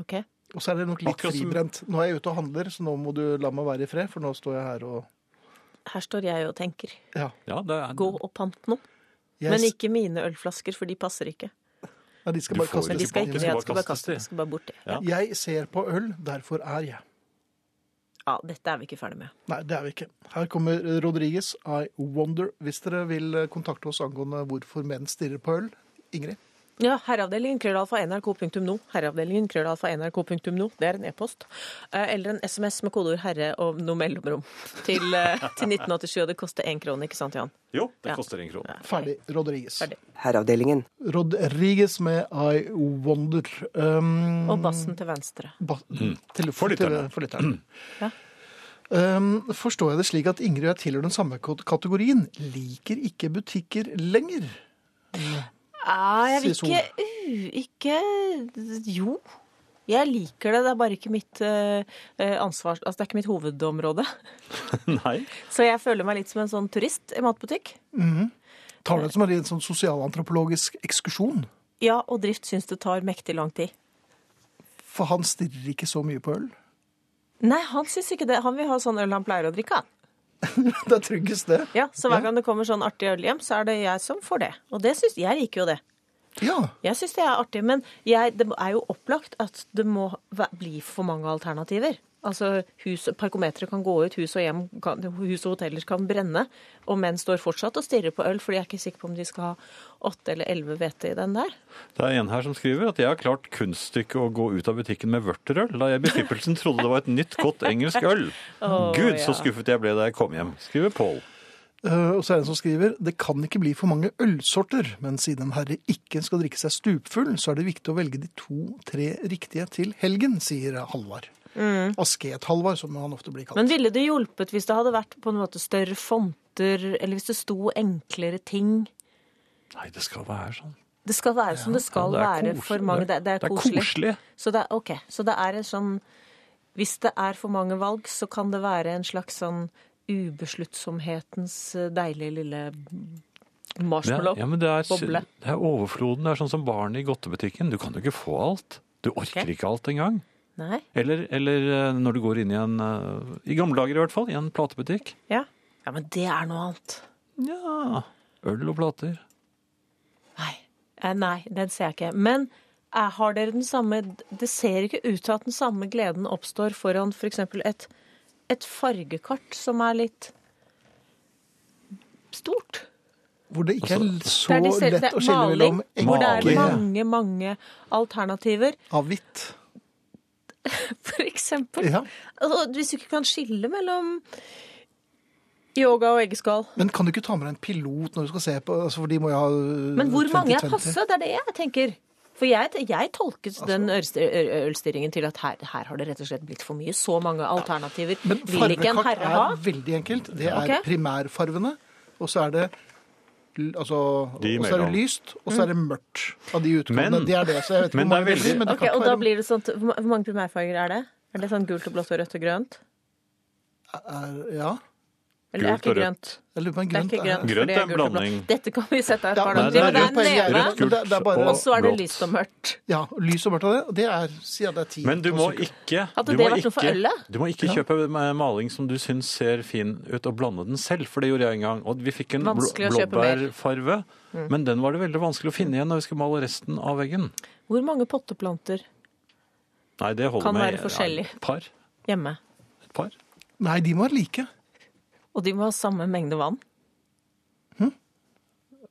[SPEAKER 7] ok.
[SPEAKER 1] Og så er det nok litt
[SPEAKER 2] Akkurat som-
[SPEAKER 1] fribrent. Nå er jeg ute og handler, så nå må du la meg være i fred, for nå står jeg her og
[SPEAKER 7] Her står jeg og tenker.
[SPEAKER 1] ja.
[SPEAKER 2] Ja, det er,
[SPEAKER 7] Gå og pant noe.
[SPEAKER 1] Jeg-
[SPEAKER 7] Men ikke mine ølflasker, for de passer ikke.
[SPEAKER 1] Nei, de skal
[SPEAKER 2] Du
[SPEAKER 1] bare
[SPEAKER 2] får
[SPEAKER 1] kaste
[SPEAKER 7] Men de
[SPEAKER 2] ikke
[SPEAKER 7] skal
[SPEAKER 2] på.
[SPEAKER 7] ikke,
[SPEAKER 2] De skal
[SPEAKER 7] jeg
[SPEAKER 2] bare
[SPEAKER 7] skal bare
[SPEAKER 2] kastes,
[SPEAKER 7] kaste,
[SPEAKER 2] de.
[SPEAKER 7] de skal bare bort. Ja.
[SPEAKER 2] Ja.
[SPEAKER 1] Jeg ser på øl, derfor er jeg.
[SPEAKER 7] ja, dette er vi ikke ferdig med.
[SPEAKER 1] Nei, det er vi ikke. Her kommer eh, Rodriguez, I Wonder. Hvis dere vil eh, kontakte oss angående hvorfor menn stirrer på øl. Ingrid?
[SPEAKER 7] Ja, herreavdelingen krøllalfa nrk.no. Herreavdelingen krøllalfa nrk.no. Det er en e-post. Eh, Eller en SMS med kodeord 'herre' og noe mellomrom til, eh, til 1987. Og det koster én krone, ikke sant, Jan?
[SPEAKER 2] Jo, det
[SPEAKER 7] Ja.
[SPEAKER 2] koster en krone.
[SPEAKER 1] Ferdig. Rodriguez.
[SPEAKER 7] Ferdig.
[SPEAKER 6] Herreavdelingen.
[SPEAKER 1] Rodriguez med I Wonder. Um,
[SPEAKER 7] Og bassen til venstre.
[SPEAKER 1] ba til,
[SPEAKER 2] Mm. For lytterne. Mm.
[SPEAKER 1] til- For lytterne.
[SPEAKER 7] Ja.
[SPEAKER 1] Um, forstår jeg det slik at Ingrid og jeg tilhører den samme kat- kategorien? Liker ikke butikker lenger.
[SPEAKER 7] Ah, jeg vil
[SPEAKER 1] Sier Sol.
[SPEAKER 7] ikke u, Ikke Jo. Jeg liker det, det er bare ikke mitt eh, eh, ansvar Altså, det er ikke mitt hovedområde.
[SPEAKER 2] Nei.
[SPEAKER 7] Så jeg føler meg litt som en sånn turist i matbutikk.
[SPEAKER 1] Tar du det som en ren sånn sosialantropologisk ekskursjon?
[SPEAKER 7] Ja, og drift syns det tar mektig lang tid.
[SPEAKER 1] For han stirrer ikke så mye på øl.
[SPEAKER 7] Nei, han syns ikke det. Han vil ha sånn øl han pleier å drikke, han.
[SPEAKER 1] Det er tryggest, det.
[SPEAKER 7] Ja, så hver gang det kommer sånn artig øl hjem, så er det jeg som får det. Og det syns jeg liker jo det.
[SPEAKER 1] Ja.
[SPEAKER 7] Jeg syns det er artig, men jeg, det er jo opplagt at det må væ- bli for mange alternativer. Altså hus, Parkometeret kan gå ut, hus og hjem, kan, hus og hoteller kan brenne. Og menn står fortsatt og stirrer på øl, fordi jeg er ikke sikker på om de skal ha åtte eller elleve hvete i den der.
[SPEAKER 2] Det er en her som skriver at jeg har klart kunststykket å gå ut av butikken med vørterøl da jeg i beskrivelsen trodde det var et nytt, godt engelsk øl. Gud, så
[SPEAKER 7] ja.
[SPEAKER 2] skuffet jeg ble da jeg kom hjem, skriver Pål.
[SPEAKER 1] Eh, og så er det en som skriver det kan ikke bli for mange ølsorter, men siden en herre ikke skal drikke seg stupfull, så er det viktig å velge de to-tre riktige til helgen, sier Halvard. Asket-Halvard, som han ofte blir kalt.
[SPEAKER 7] Mm. Men ville det hjulpet hvis det hadde vært på en måte større fonter, eller hvis det sto enklere ting?
[SPEAKER 2] Nei, det skal være sånn.
[SPEAKER 7] Det skal være som det
[SPEAKER 2] Ja,
[SPEAKER 7] skal
[SPEAKER 2] det er
[SPEAKER 7] være
[SPEAKER 2] koselig.
[SPEAKER 7] for mange. Det, det, er, koselig. Så det, er- ok, så det er en sånn Hvis det er for mange valg, så kan det være en slags sånn ubesluttsomhetens eh, deilige lille
[SPEAKER 2] Det er,
[SPEAKER 7] marshmallow.
[SPEAKER 2] ja, men det er,
[SPEAKER 7] Boble.
[SPEAKER 2] det er overfloden. Det er sånn som barnet i godtebutikken. Du kan jo ikke få alt. Du orker
[SPEAKER 7] Ok.
[SPEAKER 2] ikke alt engang.
[SPEAKER 7] Nei?
[SPEAKER 2] Eller, eller eh, når du går inn i en eh, I gamle dager i hvert fall, i en platebutikk.
[SPEAKER 7] Ja. ja, men det er noe annet.
[SPEAKER 2] Ja. Øl og plater.
[SPEAKER 7] Nei, eh, nei den ser jeg ikke. Men eh, har dere den samme Det ser ikke ut til at den samme gleden oppstår foran f.eks. For et, et fargekart som er litt stort.
[SPEAKER 1] Hvor det ikke er l- så
[SPEAKER 7] Der de ser- det
[SPEAKER 1] lett
[SPEAKER 7] er
[SPEAKER 1] å skille mellom
[SPEAKER 7] maling, Hvor det
[SPEAKER 1] enke
[SPEAKER 7] er mange, mange alternativer.
[SPEAKER 1] av hvitt.
[SPEAKER 7] For eksempel.
[SPEAKER 1] Ja.
[SPEAKER 7] Altså, hvis du ikke kan skille mellom yoga og eggeskall.
[SPEAKER 1] Men kan du ikke ta med deg en pilot når du skal se på? Altså, for de må jo ha øh,
[SPEAKER 7] Men hvor mange er
[SPEAKER 1] 20-20.
[SPEAKER 7] passe? Det er det jeg tenker. For jeg, jeg tolket
[SPEAKER 1] Altså-
[SPEAKER 7] den ølst- ø- ø- ølstyringen til at her, her har det rett og slett blitt for mye. Så mange alternativer
[SPEAKER 1] Men
[SPEAKER 7] vil ikke en
[SPEAKER 1] farvekart
[SPEAKER 7] herre
[SPEAKER 1] er
[SPEAKER 7] ha.
[SPEAKER 1] veldig enkelt. Det er
[SPEAKER 7] Ok.
[SPEAKER 1] primærfarvene, og så er det l- altså,
[SPEAKER 2] De
[SPEAKER 1] og så er det
[SPEAKER 2] imellom.
[SPEAKER 1] lyst, og så er det
[SPEAKER 7] Mm.
[SPEAKER 1] mørkt av de utgangene.
[SPEAKER 2] Men-
[SPEAKER 1] det er det, så jeg vet ikke
[SPEAKER 2] men
[SPEAKER 1] hvor mange
[SPEAKER 2] det er
[SPEAKER 1] det blir,
[SPEAKER 2] veldig-
[SPEAKER 1] men det
[SPEAKER 7] Ok,
[SPEAKER 1] kan
[SPEAKER 7] og
[SPEAKER 1] ikke
[SPEAKER 7] da
[SPEAKER 1] være
[SPEAKER 7] blir det sånn, Hvor ma- hvor mange primærfarger er det? Er det sånn gult og blått og rødt og grønt?
[SPEAKER 1] er, Ja.
[SPEAKER 7] Eller
[SPEAKER 2] Gult
[SPEAKER 7] det er
[SPEAKER 2] og
[SPEAKER 7] ikke
[SPEAKER 2] rødt.
[SPEAKER 7] grønt.
[SPEAKER 1] Jeg lurer på om
[SPEAKER 7] Det er ikke
[SPEAKER 2] Grønt
[SPEAKER 7] grønt. for det
[SPEAKER 2] er en
[SPEAKER 7] gult og blått.
[SPEAKER 2] blanding.
[SPEAKER 7] Dette kan vi sette her.
[SPEAKER 1] Ja,
[SPEAKER 7] Karl
[SPEAKER 1] men
[SPEAKER 7] André,
[SPEAKER 1] det
[SPEAKER 2] Nei,
[SPEAKER 1] er
[SPEAKER 7] men det
[SPEAKER 1] jo
[SPEAKER 7] er
[SPEAKER 1] poenget.
[SPEAKER 7] neve,
[SPEAKER 2] Rødt, gult
[SPEAKER 1] Det er- det er bare-
[SPEAKER 7] og så er det
[SPEAKER 2] blått.
[SPEAKER 7] lyst og mørkt.
[SPEAKER 1] Ja, lys og mørkt av det. Og det er siden det er ti.
[SPEAKER 2] Men du må ikke
[SPEAKER 7] Hadde
[SPEAKER 2] du
[SPEAKER 7] det
[SPEAKER 2] må
[SPEAKER 7] vært noe for
[SPEAKER 2] ikke-
[SPEAKER 7] ølet?
[SPEAKER 2] Du må ikke kjøpe ma- maling som du syns ser fin ut, og blande den selv, for det gjorde jeg en gang. Og vi fikk en blå,
[SPEAKER 7] Vanskelig å kjøpe mer. Mm.
[SPEAKER 2] blåbærfarve, men den var det veldig vanskelig å finne igjen når vi skulle male resten av veggen.
[SPEAKER 7] Hvor mange potteplanter
[SPEAKER 2] Nei, det holder
[SPEAKER 7] Kan
[SPEAKER 2] med
[SPEAKER 7] være forskjellig.
[SPEAKER 2] Ja, et par.
[SPEAKER 7] hjemme?
[SPEAKER 2] Et par.
[SPEAKER 1] Nei, de må være like.
[SPEAKER 7] Og de må ha samme mengde vann?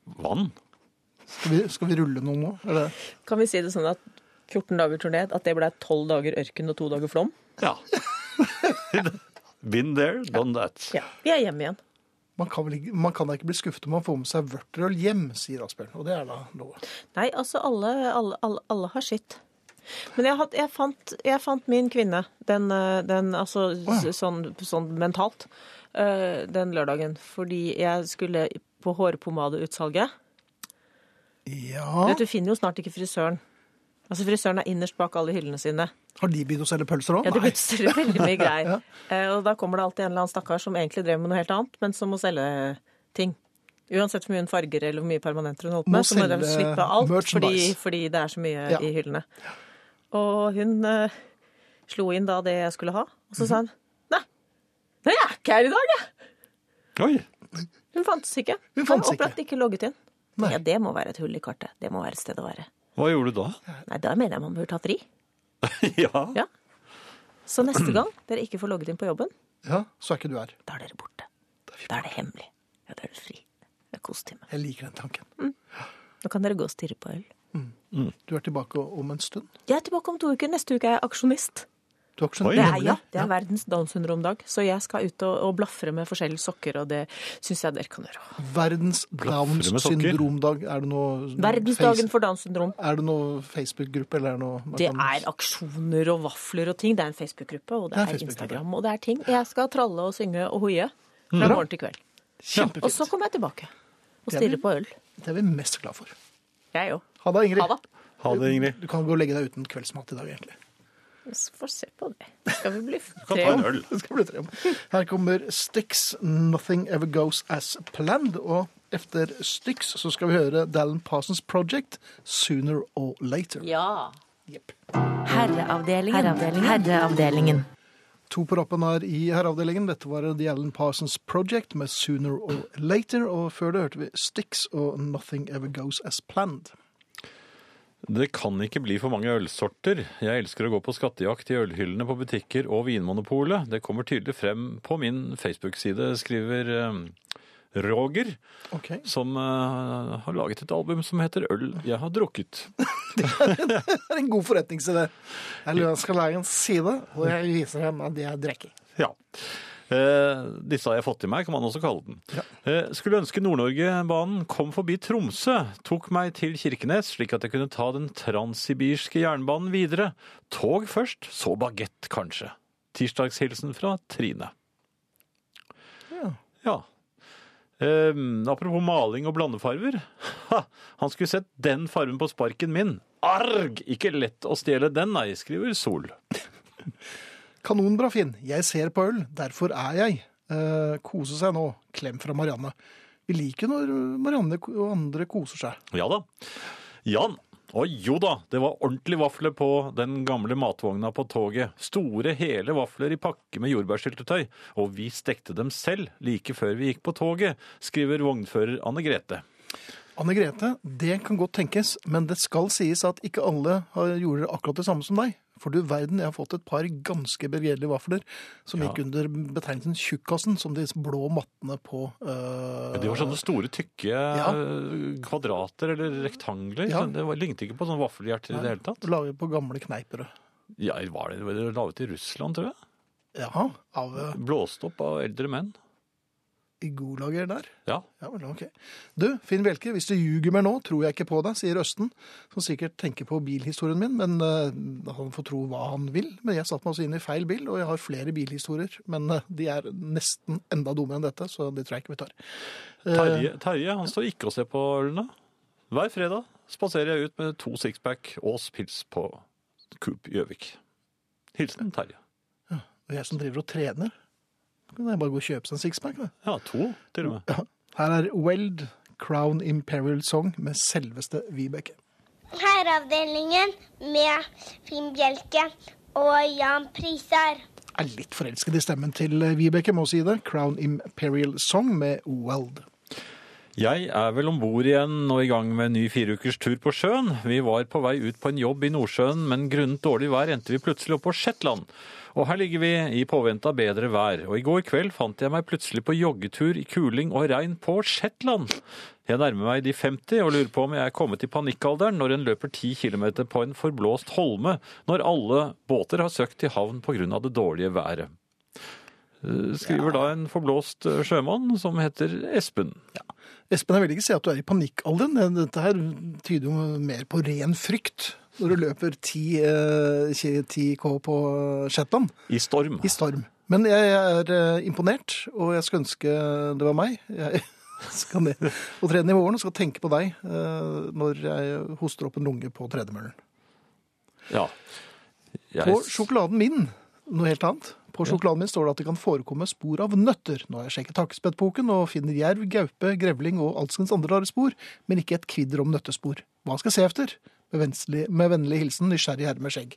[SPEAKER 2] Vann.
[SPEAKER 1] Skal vi, skal vi rulle noen nå? Er det-
[SPEAKER 7] Kan vi si det sånn at 14 dager turné, at det ble 12 dager ørken og 2 dager flom?
[SPEAKER 2] Ja. Been there, done that.
[SPEAKER 7] Ja, Vi er hjemme igjen.
[SPEAKER 1] Man, kan vel ikke, man kan da ikke bli skuffet om man får med seg vørterøl hjem, sier Asbjørn. Og det er da lov.
[SPEAKER 7] Nei, altså alle, alle, alle, alle har sitt. Men jeg, had, jeg, fant, jeg fant min kvinne, den, eh, den altså s- sånn, sånn mentalt, eh, den lørdagen. Fordi jeg skulle på hårpomadeutsalget. Du
[SPEAKER 1] Ja.
[SPEAKER 7] vet, du finner jo snart ikke frisøren. Altså Frisøren er innerst bak alle hyllene sine.
[SPEAKER 1] Har de begynt å selge pølser òg?
[SPEAKER 7] Ja, det bestiller veldig mye greier.
[SPEAKER 1] Ja.
[SPEAKER 7] Eh, Og da kommer det alltid en eller annen stakkar som egentlig drev med noe helt annet, men som må selge ting. Uansett hvor mye hun farger eller hvor mye permanenter hun holdt
[SPEAKER 1] Må
[SPEAKER 7] med, så må de
[SPEAKER 1] selge
[SPEAKER 7] slippe alt fordi,
[SPEAKER 1] merchandise.
[SPEAKER 7] fordi det er så mye
[SPEAKER 1] Ja.
[SPEAKER 7] i hyllene. Og hun eh, slo inn da det jeg skulle ha, og så sa
[SPEAKER 1] Mhm.
[SPEAKER 7] hun nei, nei, jeg er ikke her i dag, jeg.
[SPEAKER 2] Oi!
[SPEAKER 7] Hun fantes ikke.
[SPEAKER 1] Hun fantes
[SPEAKER 7] Har opplagt ikke logget inn.
[SPEAKER 1] Nei.
[SPEAKER 7] Ja, det må være et hull i kartet. Det må være et sted å være.
[SPEAKER 2] Hva gjorde du da?
[SPEAKER 7] Nei, da mener jeg man burde tatt fri.
[SPEAKER 2] ja.
[SPEAKER 7] Ja. Så neste gang dere ikke får logget inn på jobben,
[SPEAKER 1] Ja, så er ikke du her.
[SPEAKER 7] Da er dere borte. Da er det hemmelig. Ja, da er det fri. Det er kostime.
[SPEAKER 1] Jeg liker den tanken.
[SPEAKER 7] Nå kan dere gå og stirre på øl.
[SPEAKER 1] Du er tilbake om en stund.
[SPEAKER 7] Jeg er tilbake om to uker. Neste uke er jeg aksjonist.
[SPEAKER 1] Du har ikke skjønt
[SPEAKER 2] Oi.
[SPEAKER 7] Det er,
[SPEAKER 1] Nemlig.
[SPEAKER 7] ja, det er verdens Downs syndrom-dag, så jeg skal ut og, og blafre med forskjellige sokker, og det syns jeg dere kan gjøre.
[SPEAKER 1] Verdens Downs
[SPEAKER 2] med sokker.
[SPEAKER 1] syndromdag. Er det noe
[SPEAKER 7] Verdensdagen
[SPEAKER 1] face-
[SPEAKER 7] for Downs syndrom.
[SPEAKER 1] Er det noe Facebook-gruppe, eller er det noe man
[SPEAKER 7] Det
[SPEAKER 1] kan-
[SPEAKER 7] er aksjoner og vafler og ting. Det er en Facebook-gruppe, og det
[SPEAKER 1] Det er en
[SPEAKER 7] er
[SPEAKER 1] Facebook-gruppe.
[SPEAKER 7] Instagram, og det er ting. Jeg skal tralle og synge og hoie fra morgen til kveld.
[SPEAKER 1] Kjempefint.
[SPEAKER 7] Og så kommer jeg tilbake og
[SPEAKER 1] Det er
[SPEAKER 7] stirrer
[SPEAKER 1] vel-
[SPEAKER 7] på øl.
[SPEAKER 1] Det er vi mest glad for.
[SPEAKER 7] Jeg òg.
[SPEAKER 1] Ha det, Ingrid.
[SPEAKER 7] Ha det.
[SPEAKER 2] Ha det, Ingrid.
[SPEAKER 1] Du kan gå og legge deg uten kveldsmat i dag, egentlig.
[SPEAKER 7] Så får vi se på det. Skal vi bli
[SPEAKER 2] Kan
[SPEAKER 7] tre
[SPEAKER 2] ta
[SPEAKER 7] om
[SPEAKER 2] en øl.
[SPEAKER 1] Det skal bli tre om. Her kommer Styx, 'Nothing Ever Goes As Planned'. Og etter Styx så skal vi høre Dallon Parsons Project, 'Sooner or Later'.
[SPEAKER 7] Ja.
[SPEAKER 5] Herreavdelingen. Herreavdelingen.
[SPEAKER 1] To på rappen her i herreavdelingen. Dette var The Alan Parsons Project med 'Sooner or Later'. Og før det hørte vi Styx og 'Nothing Ever Goes As Planned'.
[SPEAKER 2] Det kan ikke bli for mange ølsorter. Jeg elsker å gå på skattejakt i ølhyllene på butikker og Vinmonopolet. Det kommer tydelig frem på min Facebook-side, skriver eh, Roger,
[SPEAKER 1] Ok, det
[SPEAKER 2] som eh, har laget et album som heter Øl jeg har drukket.
[SPEAKER 1] er en god forretningsidé. Jeg lurer- jeg skal lage en side, og jeg viser dem at jeg drikker.
[SPEAKER 2] Ja. Eh, disse har jeg fått i meg, kan man også kalle den. Eh, skulle ønske Nord-Norge-banen kom forbi Tromsø, tok meg til Kirkenes, slik at jeg kunne ta den transsibirske jernbanen videre. Tog først, så bagett kanskje. Tirsdagshilsen fra Trine.
[SPEAKER 1] Ja.
[SPEAKER 2] Ja. Eh, apropos maling og blandefarver. Ha, han skulle sett den farven på sparken min. Arg! Ikke lett å stjele den, nei, skriver Sol.
[SPEAKER 1] Kanonbra, Finn. Jeg ser på øl, derfor er jeg. Eh, kose seg nå. Klem fra Marianne. Vi liker når Marianne og andre koser seg.
[SPEAKER 2] Ja da. Jan. Å jo da, det var ordentlig vafler på den gamle matvogna på toget. Store, hele vafler i pakke med jordbærsyltetøy. Og vi stekte dem selv like før vi gikk på toget, skriver vognfører Anne Grete.
[SPEAKER 1] Anne Grete, det kan godt tenkes, men det skal sies at ikke alle har- gjorde akkurat det samme som deg. For du verden, jeg har fått et par ganske begredelige vafler som
[SPEAKER 2] Ja.
[SPEAKER 1] gikk under betegnelsen tjukkasen, som de blå mattene på øh,
[SPEAKER 2] De var sånn- sånne store, tykke eh, kvadrater eller rektangler.
[SPEAKER 1] Ja.
[SPEAKER 2] så Det var- lignet ikke på sånn vaffelhjerter i det hele tatt.
[SPEAKER 1] Laget eh, på gamle kneiper.
[SPEAKER 2] Ja, var det, var det laget i Russland, tror jeg?
[SPEAKER 1] Jaha, av øh,
[SPEAKER 2] Blåst opp av eldre menn.
[SPEAKER 1] Igolager der.
[SPEAKER 2] Ja.
[SPEAKER 1] Ja, vel, ok. Du, Finn Bjelke, hvis du ljuger meg nå, tror jeg ikke på deg, sier Østen, som sikkert tenker på bilhistorien min, men øh, han får tro hva han vil. Men jeg satte meg også inn i feil bil, og jeg har flere bilhistorier, men øh, de er nesten enda dummere enn dette, så det tror jeg ikke vi tar.
[SPEAKER 2] Terje, Terje han står ikke og ser på ølene. Hver fredag spaserer jeg ut med to sixpack Ås pils på Coop Gjøvik. Hilsen Terje.
[SPEAKER 1] Eh, Og jeg som driver og trener. kan jeg bare gå og kjøpe seg en sixpack. da.
[SPEAKER 2] Ja, to til og med.
[SPEAKER 1] Ja. Her er Weld Crown Imperial Song med selveste Vibeke.
[SPEAKER 8] Herreavdelingen med Finn Bjelke og Jan Prisar.
[SPEAKER 1] Jeg er litt forelsket i stemmen til eh, Vibeke, må si det. Crown Imperial Song med Weld.
[SPEAKER 2] Jeg er vel om bord igjen og i gang med en ny fireukers tur på sjøen. Vi var på vei ut på en jobb i Nordsjøen, men grunnet dårlig vær endte vi plutselig opp på Shetland. Og her ligger vi i påvente av bedre vær. Og i går kveld fant jeg meg plutselig på joggetur i kuling og regn på Shetland. Jeg nærmer meg de 50 og lurer på om jeg er kommet i panikkalderen når en løper 10 km på en forblåst holme, når alle båter har søkt til havn pga. det dårlige været. Eh, Skriver da en forblåst eh, sjømann som heter Espen.
[SPEAKER 1] Espen, jeg vil ikke si at du er i panikkalderen. Dette her tyder jo mer på ren frykt når du løper 10, eh, 10K på Shetland
[SPEAKER 2] I storm.
[SPEAKER 1] i storm. Men jeg er eh, imponert, og jeg skulle ønske det var meg. Jeg skal ned og trene i morgen og skal tenke på deg eh, når jeg hoster opp en lunge på tredemøllen.
[SPEAKER 2] Ja. Jeg,
[SPEAKER 1] På sjokoladen min, noe helt annet. På sjokoladen min står det at det kan forekomme spor av nøtter. Nå har jeg sjekket hakkespettboken og finner jerv, gaupe, grevling og alskens andre rare spor, men ikke et kvidder om nøttespor. Hva skal jeg se etter? Med vennlig, med vennlig hilsen nysgjerrig herre med skjegg.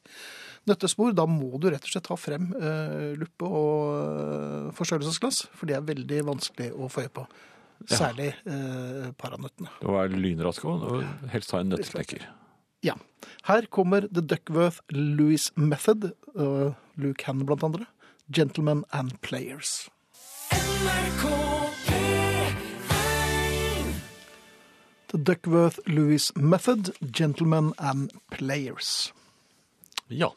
[SPEAKER 1] Nøttespor, da må du rett og slett ta frem eh, luppe og eh, forstørrelsesglass, for de er veldig vanskelig å få øye på. Særlig eh, paranøttene.
[SPEAKER 2] det var lynrask òg. Helst ha en nøtteknekker.
[SPEAKER 1] Ja. Her kommer The Duckworth Louis Method, og Luke Hannon blant andre. Gentlemen and Players. The Duckworth Louis Method, Gentlemen and Players.
[SPEAKER 2] Ja.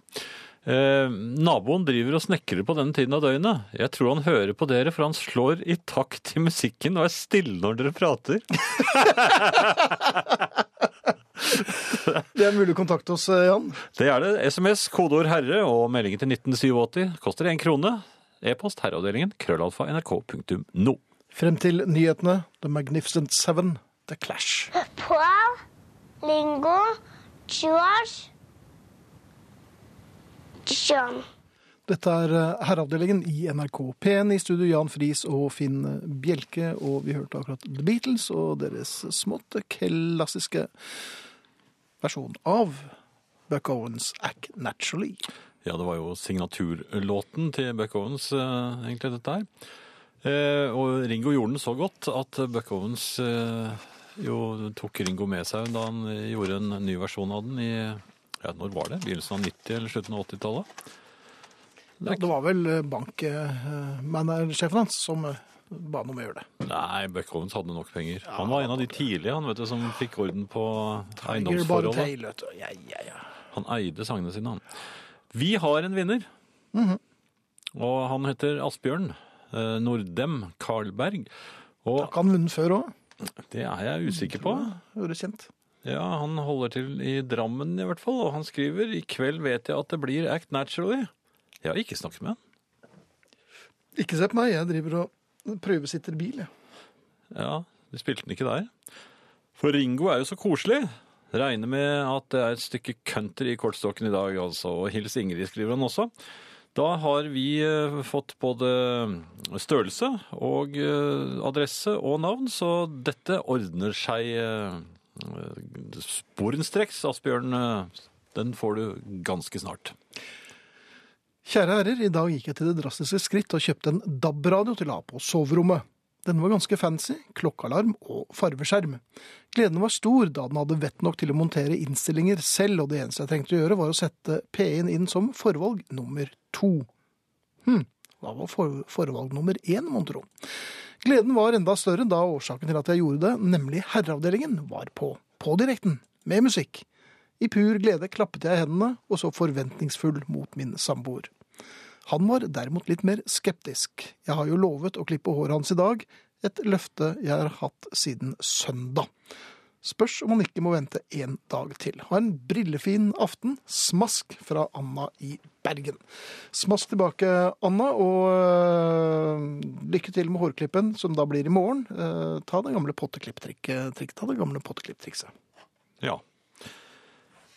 [SPEAKER 2] Eh, naboen driver og snekrer på denne tiden av døgnet. Jeg tror han hører på dere, for han slår i takt til musikken og er stille når dere prater.
[SPEAKER 1] Det er mulig å kontakte oss, eh, Jan.
[SPEAKER 2] Det er det. SMS, kodeord 'herre' og meldingen til 1987 koster én krone. E-post herreavdelingen krøllalfa nrk.no.
[SPEAKER 1] Frem til nyhetene The Magnificent Seven, The Clash.
[SPEAKER 8] Paul, Lingo, George, John.
[SPEAKER 1] Dette er eh, herreavdelingen i NRK P1 i studio Jan Friis og Finn Bjelke, og vi hørte akkurat The Beatles og deres smått klassiske versjon av Buck Owens Act Naturally.
[SPEAKER 2] Ja, det var jo signaturlåten til Buck Owens, eh, egentlig, dette her. Eh, og Ringo gjorde den så godt at Buck Owens eh, jo tok Ringo med seg da han gjorde en ny versjon av den i ja, når var det? Begynnelsen av 90- eller slutten av 80-tallet?
[SPEAKER 1] Ja, det var vel bankmanagersjefen hans som eh, ba han om å gjøre det.
[SPEAKER 2] Nei, Buck Owens hadde nok penger. Han var en av de tidlige han, vet du, som fikk orden på
[SPEAKER 1] Tiger Bar
[SPEAKER 2] eiendomsforholdet.
[SPEAKER 1] Tail, vet du. Ja, ja, ja.
[SPEAKER 2] Han eide sangene sine, han. Vi har en vinner. Og han heter Asbjørn eh, Nordem Karlberg. Og
[SPEAKER 1] Har ikke han vunnet før òg?
[SPEAKER 2] Det er jeg usikker på.
[SPEAKER 1] Høres kjent.
[SPEAKER 2] Ja, Han holder til i Drammen i hvert fall, og han skriver i kveld vet jeg at det blir Act Naturally. Jeg har ikke snakket med han.
[SPEAKER 1] Ikke se på meg, jeg driver og prøvesitter bil, jeg.
[SPEAKER 2] Ja, Du spilte den ikke der. For Ringo er jo så koselig. Regner med at det er et stykke country i kortstokken i dag, altså. Og hils Ingrid, skriver han også. Da har vi eh, fått både eh, størrelse og eh, adresse og navn, så dette ordner seg eh, sporenstreks. Asbjørn, eh, den får du ganske snart.
[SPEAKER 1] Kjære herrer, i dag gikk jeg til det drastiske skritt og kjøpte en DAB-radio til å ha på soverommet. Den var ganske fancy, klokkealarm og farveskjerm. Gleden var stor da den hadde vett nok til å montere innstillinger selv, og det eneste jeg trengte å gjøre var å sette P1 inn som forvalg nummer to. Hm, hva var for forvalg nummer én, mon tro? Gleden var enda større da årsaken til at jeg gjorde det, nemlig herreavdelingen, var på. På direkten, med musikk. I pur glede klappet jeg hendene og så forventningsfull mot min samboer. Han var derimot litt mer skeptisk. Jeg har jo lovet å klippe håret hans i dag, et løfte jeg har hatt siden søndag. Spørs om han ikke må vente en dag til. Ha en brillefin aften. Smask fra Anna i Bergen. Smask tilbake, Anna, og øh, lykke til med hårklippen, som da blir i morgen. Eh, ta det gamle potteklipptrikset. Ta det gamle potteklipptrikset.
[SPEAKER 2] Ja.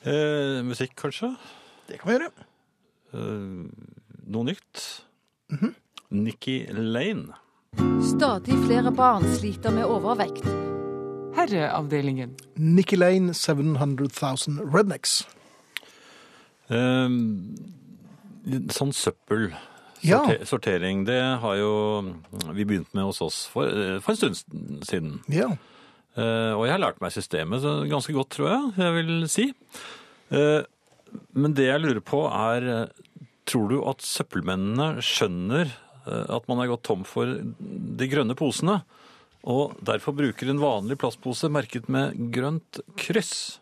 [SPEAKER 2] Eh, musikk, kanskje?
[SPEAKER 1] Det kan vi gjøre.
[SPEAKER 2] Eh, noe nytt? Nikki Lane.
[SPEAKER 9] Stadig flere barn sliter med overvekt.
[SPEAKER 10] Herreavdelingen.
[SPEAKER 1] Nikki Lane, 700,000 Rednecks.
[SPEAKER 2] Eh, sånn søppel.
[SPEAKER 1] Ja.
[SPEAKER 2] Sorte- Sortering, det har jo vi begynt med hos oss for, eh, for en stund siden.
[SPEAKER 1] Ja.
[SPEAKER 2] Eh, og jeg har lært meg systemet så ganske godt, tror jeg jeg vil si. Eh, men det jeg lurer på er eh, Tror du at søppelmennene skjønner eh, at man er gått tom for de grønne posene, og derfor bruker en vanlig plastpose merket med grønt kryss?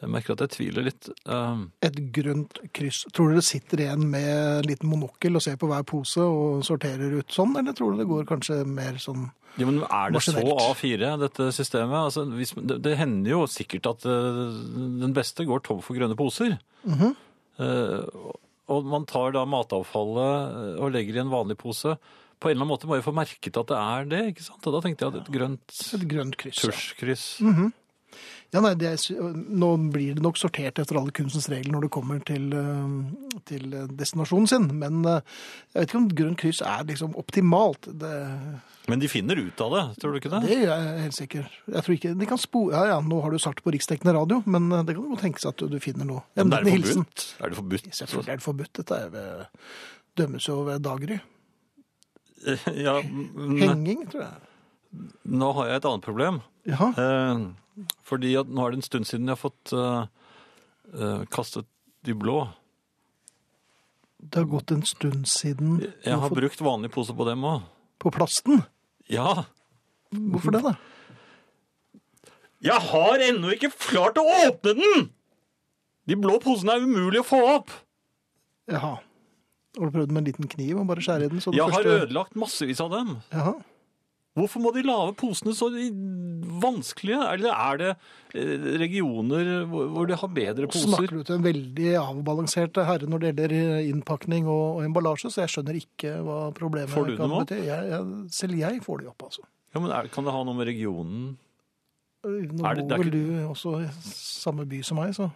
[SPEAKER 2] Jeg merker at jeg tviler litt. Eh,
[SPEAKER 1] Et grønt kryss. Tror dere sitter igjen med en liten monokkel og ser på hver pose og sorterer ut sånn, eller tror dere det går kanskje mer sånn
[SPEAKER 2] Ja, men Er det så
[SPEAKER 1] Maskinelt.
[SPEAKER 2] A4, dette systemet? Altså, hvis, det, det hender jo sikkert at eh, den beste går tom for grønne poser.
[SPEAKER 1] Mhm.
[SPEAKER 2] Eh, og- og man tar da matavfallet eh, og legger i en vanlig pose. På en eller annen måte må jeg få merket at det er det. ikke sant? Og da tenkte jeg at et grønt
[SPEAKER 1] et grønt kryss? ja.
[SPEAKER 2] tusjkryss
[SPEAKER 1] Mhm. Ja, nei, det er, sy- nå blir det nok sortert etter alle kunstens regler når det kommer til, eh, til destinasjonen sin, men eh, jeg vet ikke om grønt kryss er liksom optimalt. Det,
[SPEAKER 2] Men de finner ut av det, tror du ikke det?
[SPEAKER 1] det er jeg helt sikker. Jeg tror ikke, de kan spore, ja, ja, nå har du sagt på riksdekkende radio, men eh, det kan jo tenkes at du, du finner noe.
[SPEAKER 2] Men er
[SPEAKER 1] Enten
[SPEAKER 2] det
[SPEAKER 1] hilsen-
[SPEAKER 2] forbudt? Er det forbudt?
[SPEAKER 1] Selvfølgelig er det forbudt, dette er ved, dømmes jo ved daggry.
[SPEAKER 2] Ja, men
[SPEAKER 1] Henging, tror jeg.
[SPEAKER 2] nå har jeg et annet problem.
[SPEAKER 1] Jaha,
[SPEAKER 2] Eh, fordi at nå er det en stund siden jeg har fått eh, eh, kastet de blå.
[SPEAKER 1] det har gått en stund siden du
[SPEAKER 2] Jeg har
[SPEAKER 1] fått-
[SPEAKER 2] brukt vanlig pose på dem òg.
[SPEAKER 1] på plasten.
[SPEAKER 2] Ja.
[SPEAKER 1] Hvorfor det da?
[SPEAKER 2] Jeg har ennå ikke klart å åpne den! De blå posene er umulig å få opp.
[SPEAKER 1] Jaha. Har du prøvd med en liten kniv og bare skjære i den? så den
[SPEAKER 2] Jeg har
[SPEAKER 1] første-
[SPEAKER 2] ødelagt massevis av dem.
[SPEAKER 1] Jaha.
[SPEAKER 2] Hvorfor må de lage posene så i- vanskelige? Eller er det eh, regioner hvor hvor de har bedre
[SPEAKER 1] Så snakker
[SPEAKER 2] poser?
[SPEAKER 1] du til en veldig avbalansert herre når det gjelder eh, innpakning og, og emballasje, så jeg skjønner ikke hva problemet
[SPEAKER 2] Får du
[SPEAKER 1] kan
[SPEAKER 2] dem opp?
[SPEAKER 1] bety. Jeg, jeg, selv jeg får de opp, altså.
[SPEAKER 2] Ja, men er, Kan det ha noe med regionen
[SPEAKER 1] Nå
[SPEAKER 2] Er det- det
[SPEAKER 1] bor
[SPEAKER 2] er
[SPEAKER 1] vel
[SPEAKER 2] ikke-
[SPEAKER 1] du også i samme by som meg, så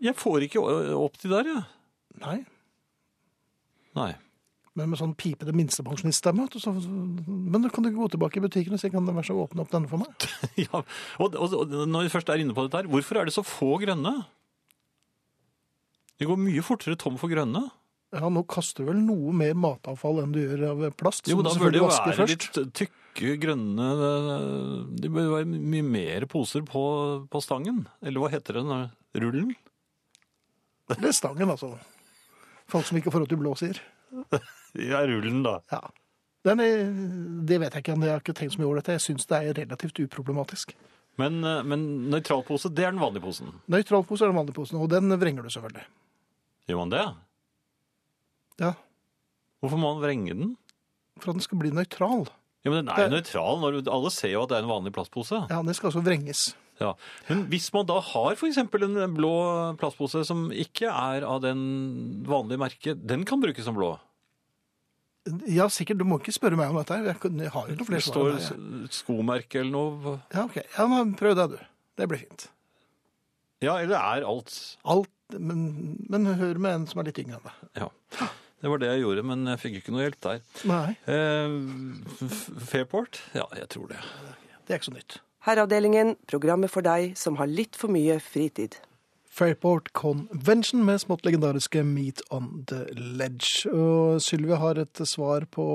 [SPEAKER 2] Jeg får ikke å- opp de der, jeg.
[SPEAKER 1] nei.
[SPEAKER 2] Nei.
[SPEAKER 1] Men med sånn pipete minstepensjoniststemme. vet du, så- Men kan du ikke gå tilbake i butikken og si kan det være så å åpne opp denne for meg?
[SPEAKER 2] Ja, og, og, og når vi først er inne på dette her, hvorfor er det så få grønne? Det går mye fortere tom for grønne.
[SPEAKER 1] Ja, nå kaster du vel noe mer matavfall enn du gjør av plast.
[SPEAKER 2] Jo,
[SPEAKER 1] som
[SPEAKER 2] men da
[SPEAKER 1] du
[SPEAKER 2] bør det jo
[SPEAKER 1] selvfølgelig vasker
[SPEAKER 2] være litt tykke grønne øh, Det bør være mye mer poser på, på stangen. Eller hva heter den? øh, Rullen?
[SPEAKER 1] Det er stangen, altså. Folk som ikke får råd til blå, sier.
[SPEAKER 2] Ja, rullen, da.
[SPEAKER 1] Ja. Den er, det vet jeg ikke, jeg har ikke tenkt så mye over dette. Jeg syns det er relativt uproblematisk.
[SPEAKER 2] Men, øh, men nøytral pose, det er den vanlige posen.
[SPEAKER 1] Nøytralpose er den vanlige posen, og den vrenger du selvfølgelig.
[SPEAKER 2] Gjør man det?
[SPEAKER 1] Ja,
[SPEAKER 2] Hvorfor må man vrenge den?
[SPEAKER 1] For at den skal bli nøytral.
[SPEAKER 2] Ja, men Den er jo nøytral. Når alle ser jo at det er en vanlig plastpose.
[SPEAKER 1] Ja, Den skal altså vrenges.
[SPEAKER 2] Ja. Men hvis man da har f.eks. en blå plastpose som ikke er av den vanlige merket, den kan brukes som blå.
[SPEAKER 1] Ja, sikkert. Du må ikke spørre meg om dette. her. Jeg, kan- jeg har jo noen flere
[SPEAKER 2] Det
[SPEAKER 1] svar.
[SPEAKER 2] står
[SPEAKER 1] enn deg, jeg.
[SPEAKER 2] s- skomerke eller noe.
[SPEAKER 1] Ja, ok. Ja, men prøv deg, du. Det blir fint.
[SPEAKER 2] Ja, eller er alt
[SPEAKER 1] Alt, men, men hør med en som er litt yngre enn deg.
[SPEAKER 2] Ja. Det var det jeg gjorde, men jeg fikk ikke noe hjelp der.
[SPEAKER 1] Nei,
[SPEAKER 2] Eh, F- Fairport? Ja, jeg tror det.
[SPEAKER 1] det er ikke så nytt.
[SPEAKER 6] Herreavdelingen, programmet for deg som har litt for mye fritid.
[SPEAKER 1] Fairport Convention med smått legendariske Meet on the Ledge. Og Sylvia har et svar på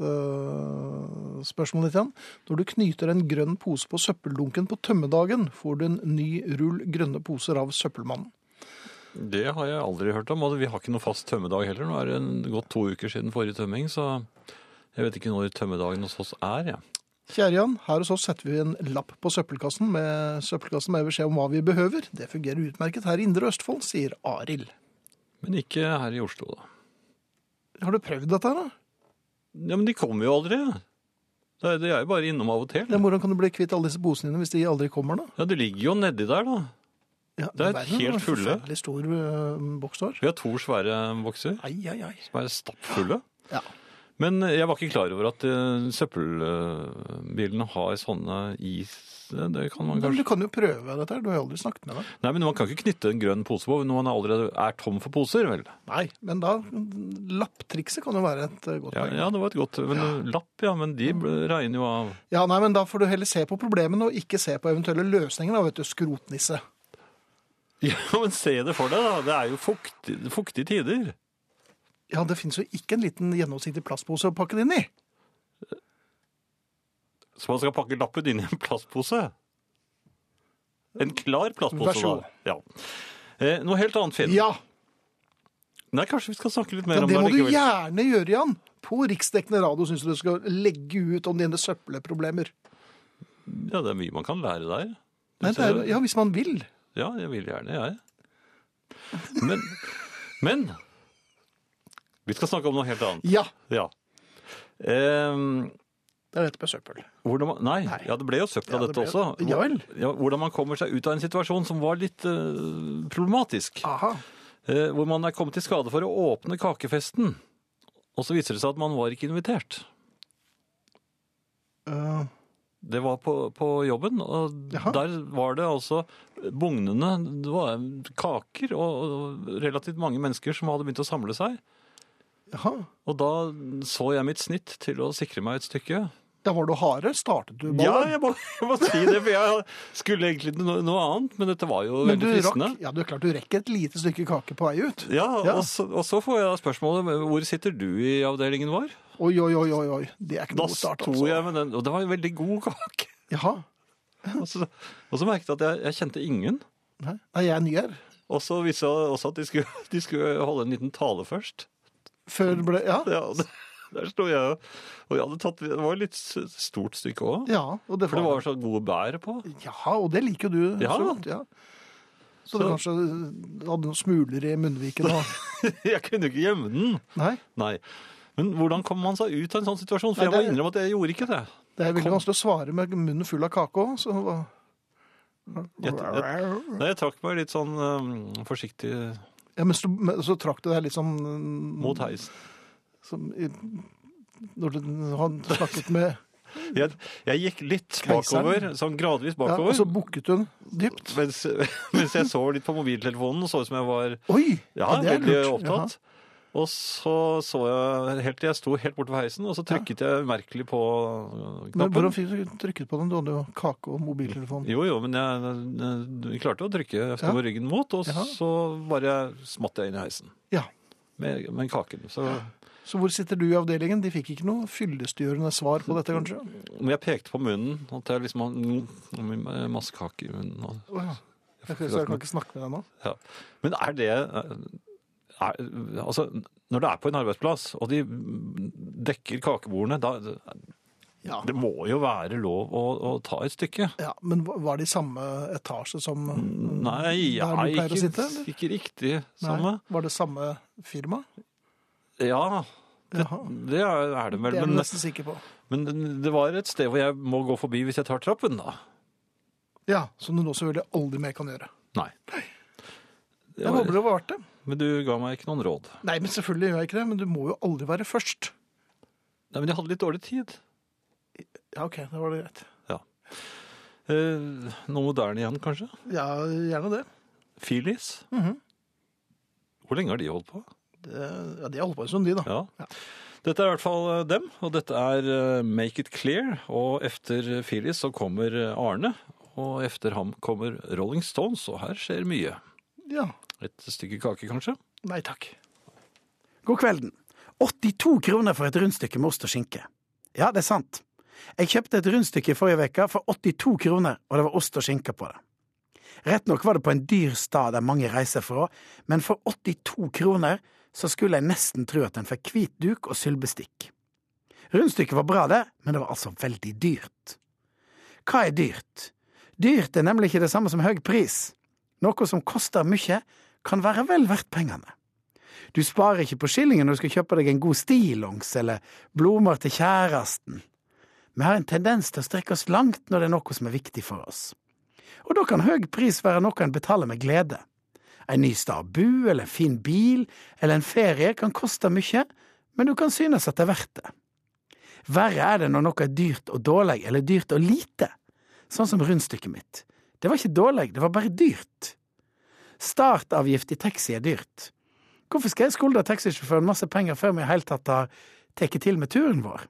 [SPEAKER 1] øh, spørsmålet ditt igjen. Når du knyter en grønn pose på søppeldunken på tømmedagen, får du en ny rull grønne poser av søppelmannen.
[SPEAKER 2] Det har jeg aldri hørt om, og vi har ikke noe fast tømmedag heller. Nå er det en- gått to uker siden forrige tømming, så jeg vet ikke når tømmedagen hos oss er. Ja.
[SPEAKER 1] Kjære Jan, her hos oss setter vi en lapp på søppelkassen med, søppelkassen med beskjed om hva vi behøver. Det fungerer utmerket her i Indre Østfold, sier Arild.
[SPEAKER 2] Men ikke her i Oslo, da.
[SPEAKER 1] Har du prøvd dette her, da?
[SPEAKER 2] Ja, Men de kommer jo aldri. Det er- De er jo bare innom av og til.
[SPEAKER 1] Ja, men hvordan kan du bli kvitt alle disse posene dine hvis de aldri kommer, da?
[SPEAKER 2] Ja, De ligger jo nedi der, da.
[SPEAKER 1] Ja,
[SPEAKER 2] Det er
[SPEAKER 1] verden
[SPEAKER 2] helt
[SPEAKER 1] en
[SPEAKER 2] fulle.
[SPEAKER 1] forferdelig stor øh, boks der.
[SPEAKER 2] Vi har to svære bokser
[SPEAKER 1] Ai, ai, ai.
[SPEAKER 2] som er stappfulle.
[SPEAKER 1] Ja.
[SPEAKER 2] Men jeg var ikke klar over at eh, søppelbilene har sånne i Det kan man
[SPEAKER 1] Men
[SPEAKER 2] kanskje
[SPEAKER 1] du kan jo prøve dette her, du har jo aldri snakket med deg.
[SPEAKER 2] Nei, men man kan ikke knytte en grønn pose på når man allerede er tom for poser, vel?
[SPEAKER 1] Nei, men da Lapptrikset kan jo være et eh, godt
[SPEAKER 2] Ja,
[SPEAKER 1] poeng.
[SPEAKER 2] ja det var et godt men, Lapp, ja, men de ble- regner jo av
[SPEAKER 1] Ja, nei, men da får du heller se på problemene og ikke se på eventuelle løsninger, da, vet du, skrotnisse.
[SPEAKER 2] Ja, men se det for deg, da. Det er jo fuktig, fuktige tider.
[SPEAKER 1] Ja, det finnes jo ikke en liten gjennomsiktig plastpose å pakke det inn i.
[SPEAKER 2] Så man skal pakke lappen inn i en plastpose. En klar plastpose,
[SPEAKER 1] Vær så god.
[SPEAKER 2] da. Ja. Eh, noe helt annet, Finn.
[SPEAKER 1] Ja,
[SPEAKER 2] Nei, kanskje vi skal snakke litt mer
[SPEAKER 1] ja
[SPEAKER 2] om
[SPEAKER 1] det
[SPEAKER 2] det
[SPEAKER 1] må du
[SPEAKER 2] likevel.
[SPEAKER 1] gjerne gjøre, Jan. På riksdekkende radio syns du du skal legge ut om dine søppelproblemer.
[SPEAKER 2] Ja, det er mye man kan lære der.
[SPEAKER 1] Nei, det er,
[SPEAKER 2] ser-
[SPEAKER 1] ja, hvis man vil.
[SPEAKER 2] Ja, jeg vil gjerne, jeg. Men, men Vi skal snakke om noe helt annet.
[SPEAKER 1] Ja,
[SPEAKER 2] Ja. Ehm,
[SPEAKER 1] det er dette med søppel.
[SPEAKER 2] hvordan man, nei,
[SPEAKER 1] Nei.
[SPEAKER 2] ja, det ble jo søppel av
[SPEAKER 1] Ja, det
[SPEAKER 2] dette
[SPEAKER 1] ble-
[SPEAKER 2] også. Hvor-
[SPEAKER 1] Ja vel.
[SPEAKER 2] Ja, hvordan man kommer seg ut av en situasjon som var litt eh, problematisk.
[SPEAKER 1] Aha.
[SPEAKER 2] Eh, hvor man er kommet til skade for å åpne kakefesten. Og så viser det seg at man var ikke invitert.
[SPEAKER 1] Eh,
[SPEAKER 2] Det var på, på jobben, og
[SPEAKER 1] Jaha.
[SPEAKER 2] der var det altså bugnende det var kaker og, og relativt mange mennesker som hadde begynt å samle seg.
[SPEAKER 1] jaha.
[SPEAKER 2] Og da så jeg mitt snitt til å sikre meg et stykke.
[SPEAKER 1] Ja, var du harde? Startet du
[SPEAKER 2] Ja,
[SPEAKER 1] ballen?
[SPEAKER 2] jeg må, jeg må si det, for jeg skulle egentlig til noe, noe annet, men dette var jo
[SPEAKER 1] men du
[SPEAKER 2] veldig fristende.
[SPEAKER 1] rakk, ja, du er klart du rekker et lite stykke kake på vei ut.
[SPEAKER 2] Ja,
[SPEAKER 1] Ja.
[SPEAKER 2] Og, så, og så får jeg da spørsmålet hvor sitter du i avdelingen vår?
[SPEAKER 1] Oi, oi, oi, oi, oi. Det er ikke
[SPEAKER 2] Da
[SPEAKER 1] noe start,
[SPEAKER 2] sto
[SPEAKER 1] altså.
[SPEAKER 2] jeg med den, og det var en veldig god kake.
[SPEAKER 1] Jaha.
[SPEAKER 2] Og så, og så merket jeg at jeg, jeg kjente ingen.
[SPEAKER 1] Nei, Nei, jeg er ny her.
[SPEAKER 2] Og så viste det også at de skulle, de skulle holde en liten tale først.
[SPEAKER 1] Før det ble Ja.
[SPEAKER 2] Ja, og det- der sto jeg, og jeg hadde tatt, det var et litt s- stort stykke også.
[SPEAKER 1] ja og det
[SPEAKER 2] For det var så gode bær på.
[SPEAKER 1] Jaha, og det liker jo du.
[SPEAKER 2] Ja.
[SPEAKER 1] Så, godt, ja. så, du
[SPEAKER 2] Så-
[SPEAKER 1] kanskje hadde noen smuler i munnviken og
[SPEAKER 2] Jeg kunne jo ikke gjemme den.
[SPEAKER 1] Nei,
[SPEAKER 2] Nei. Men hvordan kom man seg ut av en sånn situasjon?
[SPEAKER 1] Nei,
[SPEAKER 2] For jeg må
[SPEAKER 1] det-
[SPEAKER 2] innrømme at jeg gjorde ikke det.
[SPEAKER 1] det er veldig vanskelig å svare med munnen full av kake òg, så
[SPEAKER 2] Nei, jeg trakk meg litt sånn øhm, forsiktig
[SPEAKER 1] ja, men så, men så trakk du deg litt sånn mm,
[SPEAKER 2] mot heisen.
[SPEAKER 1] som, i, Når du han snakket med
[SPEAKER 2] Jeg, jeg gikk litt
[SPEAKER 1] Keiseren.
[SPEAKER 2] bakover, sånn gradvis
[SPEAKER 1] ja, altså-
[SPEAKER 2] bakover.
[SPEAKER 1] Og så bukket hun dypt.
[SPEAKER 2] Mens, mens jeg så litt på mobiltelefonen, så ut som jeg var
[SPEAKER 1] Oi!
[SPEAKER 2] ja,
[SPEAKER 1] det er
[SPEAKER 2] veldig
[SPEAKER 1] lurt.
[SPEAKER 2] opptatt. Og så så jeg helt til jeg sto helt borte ved heisen, og så trykket jeg merkelig på øh,
[SPEAKER 1] Men hvordan
[SPEAKER 2] knappen.
[SPEAKER 1] fikk du trykket på den? Du hadde jo kake og mobiltelefon.
[SPEAKER 2] Jo, jo, men jeg, øh, jeg klarte å trykke. Jeg sto
[SPEAKER 1] Ja.
[SPEAKER 2] med ryggen mot, og
[SPEAKER 1] Jaha.
[SPEAKER 2] så bare smatt jeg inn i heisen
[SPEAKER 1] Ja.
[SPEAKER 2] med, med kaken. Så,
[SPEAKER 1] Så hvor sitter du i avdelingen? De fikk ikke noe fyllestgjørende svar på dette, kanskje?
[SPEAKER 2] men jeg pekte på munnen, at jeg liksom har mm, masse kake i munnen. og-
[SPEAKER 1] Å ja. Jeg, kan- så jeg kan ikke snakke med deg nå?
[SPEAKER 2] Ja. Men er det er, Altså, når det er på en arbeidsplass, og de dekker kakebordene, da
[SPEAKER 1] Ja.
[SPEAKER 2] Det må jo være lov å, å ta et stykke.
[SPEAKER 1] Ja, Men hva- var det i samme etasje som
[SPEAKER 2] Mm, Nei,
[SPEAKER 1] der du
[SPEAKER 2] jeg
[SPEAKER 1] pleier å sitte?
[SPEAKER 2] ikke,
[SPEAKER 1] eller?
[SPEAKER 2] ikke riktig
[SPEAKER 1] Nei.
[SPEAKER 2] samme.
[SPEAKER 1] Var det samme firma?
[SPEAKER 2] Ja,
[SPEAKER 1] Jaha.
[SPEAKER 2] det er er
[SPEAKER 1] Det
[SPEAKER 2] det vel.
[SPEAKER 1] er jeg
[SPEAKER 2] Men,
[SPEAKER 1] nesten sikker på.
[SPEAKER 2] men det var et sted hvor jeg må gå forbi hvis jeg tar trappen, da.
[SPEAKER 1] Ja, Som du nå selvfølgelig aldri mer kan gjøre.
[SPEAKER 2] Nei. Det
[SPEAKER 1] Jeg håper
[SPEAKER 2] var,
[SPEAKER 1] det var verdt det.
[SPEAKER 2] men du ga meg ikke noen råd.
[SPEAKER 1] Nei, men selvfølgelig gjør jeg ikke det. Men du må jo aldri være først.
[SPEAKER 2] Nei, Men jeg hadde litt dårlig tid.
[SPEAKER 1] Ja, OK. Da var det greit.
[SPEAKER 2] Eh, noe moderne igjen, kanskje?
[SPEAKER 1] Ja, gjerne det.
[SPEAKER 2] Filis? Hvor lenge har de holdt på?
[SPEAKER 1] det ja, De har holdt på en stund, de, da.
[SPEAKER 2] Ja. Dette er i hvert fall eh, dem, og dette er eh, Make It Clear. Og efter Phyllis så kommer eh, Arne, og efter ham kommer Rolling Stones, og her skjer mye.
[SPEAKER 1] Ja.
[SPEAKER 2] Et stykke kake, kanskje?
[SPEAKER 1] Nei takk.
[SPEAKER 11] God kvelden. 82 kroner for et rundstykke med ost og skinke. Ja, det er sant. Jeg kjøpte et rundstykke i forrige uke for 82 kroner, og det var ost og skinke på det. Rett nok var det på en dyr stad der mange reiser fra, men for 82 kroner så skulle jeg nesten tro at en fikk hvit duk og sylbestikk. Rundstykket var bra, det, men det var altså veldig dyrt. Hva er dyrt? Dyrt er nemlig ikke det samme som høy pris. Noe som koster mye, kan være vel verdt pengene. Du sparer ikke på skillingen når du skal kjøpe deg en god stillongs eller blomster til kjæresten. Vi har en tendens til å strekke oss langt når det er noe som er viktig for oss. Og da kan høy pris være noe en betaler med glede. En ny stad å bo, eller en fin bil, eller en ferie kan koste mye, men du kan synes at det er verdt det. Verre er det når noe er dyrt og dårlig, eller dyrt og lite. Sånn som rundstykket mitt. Det var ikke dårlig, det var bare dyrt. Startavgift i taxi er dyrt. Hvorfor skal jeg skulde taxisjåføren masse penger før vi i det hele tatt har tatt til med turen vår?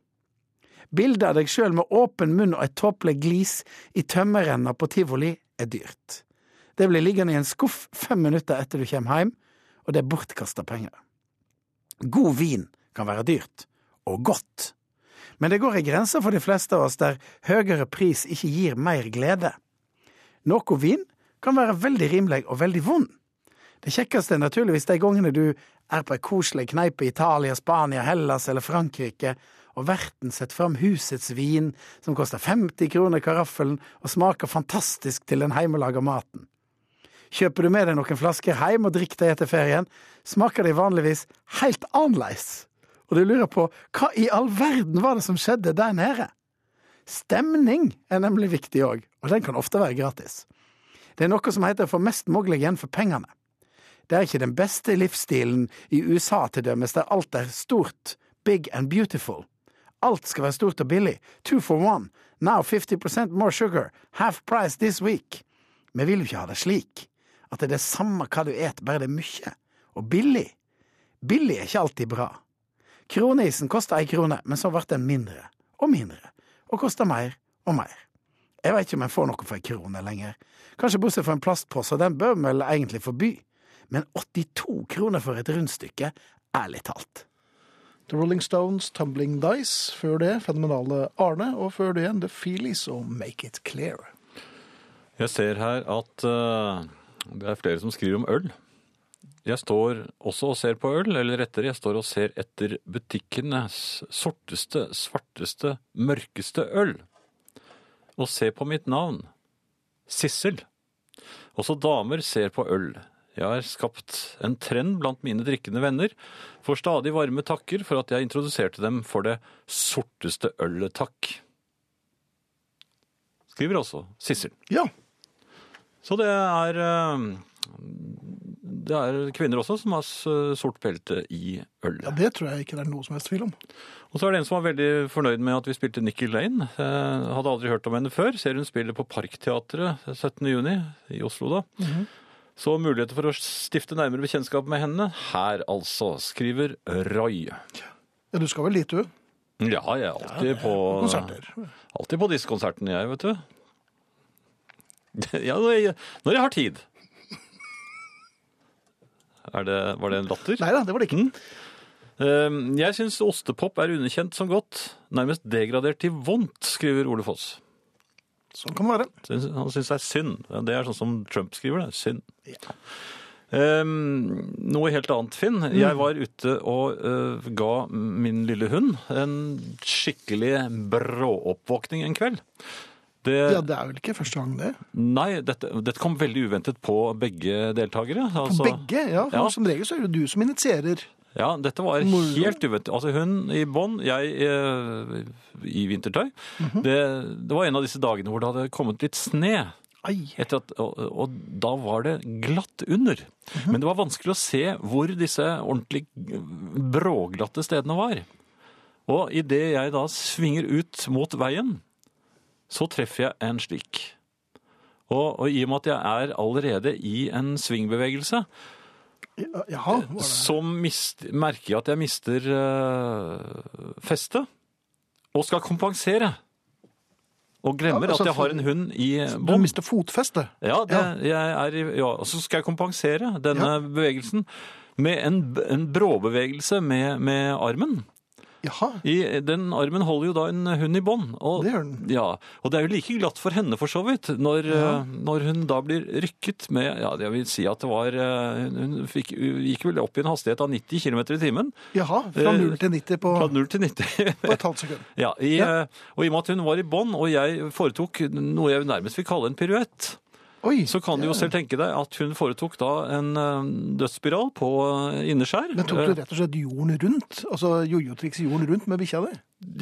[SPEAKER 11] Bildet av deg sjøl med åpen munn og et tåpelig glis i tømmerrenna på tivoli er dyrt. Det blir liggende i en skuff fem minutter etter du kommer hjem, og det er bortkasta penger. God vin kan være dyrt, og godt, men det går ei grense for de fleste av oss der høyere pris ikke gir mer glede. Noe vin kan være veldig rimelig og veldig vond. Det kjekkeste er naturligvis de gangene du er på ei koselig kneipe i Italia, Spania, Hellas eller Frankrike, og verten setter fram husets vin, som koster 50 kroner karaffelen og smaker fantastisk til den heimelaga maten. Kjøper du med deg noen flasker heim og drikker deg etter ferien, smaker de vanligvis helt annerledes, og du lurer på hva i all verden var det som skjedde der nede? Stemning er nemlig viktig òg, og den kan ofte være gratis. Det er noe som heter å få mest mulig igjen for pengene. Det er ikke den beste livsstilen i USA til dømes, der alt er stort, big and beautiful. Alt skal være stort og billig. Two for one. Now 50 more sugar. Half price this week. Vi vil jo ikke ha det slik. At det er det samme hva du et, bare det er mye. Og billig. Billig er ikke alltid bra. Kroneisen kosta ei krone, men så ble den mindre og mindre. Og kosta mer og mer. Jeg veit ikke om jeg får noe for ei krone lenger. Kanskje bortsett fra en plastpose, og den bør vi vel egentlig forby. Men 82 kroner for et rundstykke, ærlig talt.
[SPEAKER 1] The Rolling Stones, Tumbling Dice. Før det fenomenale Arne, og før det igjen The Feelies og Make It Clear.
[SPEAKER 2] Jeg ser her at eh, det er flere som skriver om øl. Jeg står også og ser på øl, eller rettere, jeg står og ser etter butikkenes sorteste, svarteste, mørkeste øl. Og se på mitt navn. Sissel. Også damer ser på øl. Jeg har skapt en trend blant mine drikkende venner. Får stadig varme takker for at jeg introduserte dem for det sorteste ølet, takk. Skriver også Sissel.
[SPEAKER 1] Ja.
[SPEAKER 2] Så det er eh, Det er kvinner også som har s- sort belte i øl.
[SPEAKER 1] Ja, Det tror jeg ikke det er noe som helst tvil om.
[SPEAKER 2] Og så er det en som var veldig fornøyd med at vi spilte Nikki Lane. Eh, hadde aldri hørt om henne før. Ser hun spiller på Parkteatret 17. juni i Oslo da. Så muligheter for å stifte nærmere bekjennskap med henne her altså, skriver Roy.
[SPEAKER 1] Ja, Du skal vel dit, du?
[SPEAKER 2] Ja, jeg er alltid på
[SPEAKER 1] konserter.
[SPEAKER 2] Alltid på disse konsertene, jeg, vet du. Ja, når jeg, når jeg har tid. Er det, var det en latter? Ehm,
[SPEAKER 1] Nei da, det var det ikke.
[SPEAKER 2] Mm. Jeg syns ostepop er underkjent som godt. Nærmest degradert til vondt, skriver Ole Foss.
[SPEAKER 1] Sånn kan det være.
[SPEAKER 2] Syns- Han syns det er synd. Ja, Det er sånn som Trump skriver det. Synd. Ehm, noe helt annet, Finn.
[SPEAKER 1] Mm.
[SPEAKER 2] Jeg var ute og eh, ga min lille hund en skikkelig bråoppvåkning en kveld. Det,
[SPEAKER 1] Ja, Det er vel ikke første gang det?
[SPEAKER 2] Nei, dette, dette kom veldig uventet på begge deltakere. altså-
[SPEAKER 1] Begge, ja. For
[SPEAKER 2] Ja.
[SPEAKER 1] Som regel så er det du som initierer.
[SPEAKER 2] Ja, dette var
[SPEAKER 1] Moro.
[SPEAKER 2] helt uventet. Altså hun i bånd, jeg eh, i vintertøy.
[SPEAKER 1] Mhm.
[SPEAKER 2] det, det var en av disse dagene hvor det hadde kommet litt sne. Etter at, og, og da var det glatt under. Men det var vanskelig å se hvor disse ordentlig bråglatte stedene var. Og idet jeg da svinger ut mot veien, så treffer jeg en slik. Og, og i og med at jeg er allerede i en svingbevegelse,
[SPEAKER 1] Jaha.
[SPEAKER 2] så mist, merker jeg at jeg mister eh, festet, og skal kompensere. Og glemmer
[SPEAKER 1] Ja, altså,
[SPEAKER 2] at jeg har en hund i
[SPEAKER 1] Du
[SPEAKER 2] bånd.
[SPEAKER 1] mister fotfestet.
[SPEAKER 2] Ja, det, jeg er, i- ja, og så skal jeg kompensere denne bevegelsen med en, b- en bråbevegelse med, med armen. I, den armen holder jo da en hund i bånd. Og, det Ja, og det er jo like glatt for henne for så vidt, når, eh, når hun da blir rykket med, ja, jeg vil si at det var, eh, hun- hun fikk, gikk vel opp i en hastighet av 90 km i timen.
[SPEAKER 1] Jaha. Fra
[SPEAKER 2] Eh,
[SPEAKER 1] 0 til 90 på,
[SPEAKER 2] Fra 0 til 90.
[SPEAKER 1] på et halvt sekund.
[SPEAKER 2] Ja, i, eh, Og i og med at hun var i bånd, og jeg foretok noe jeg nærmest vil kalle en piruett, så kan du jo selv tenke deg at hun foretok da en eh, dødsspiral på eh, inneskjær.
[SPEAKER 1] Men tok du rett og slett jorden rundt? Altså jojo-triks jorden rundt med bikkja di?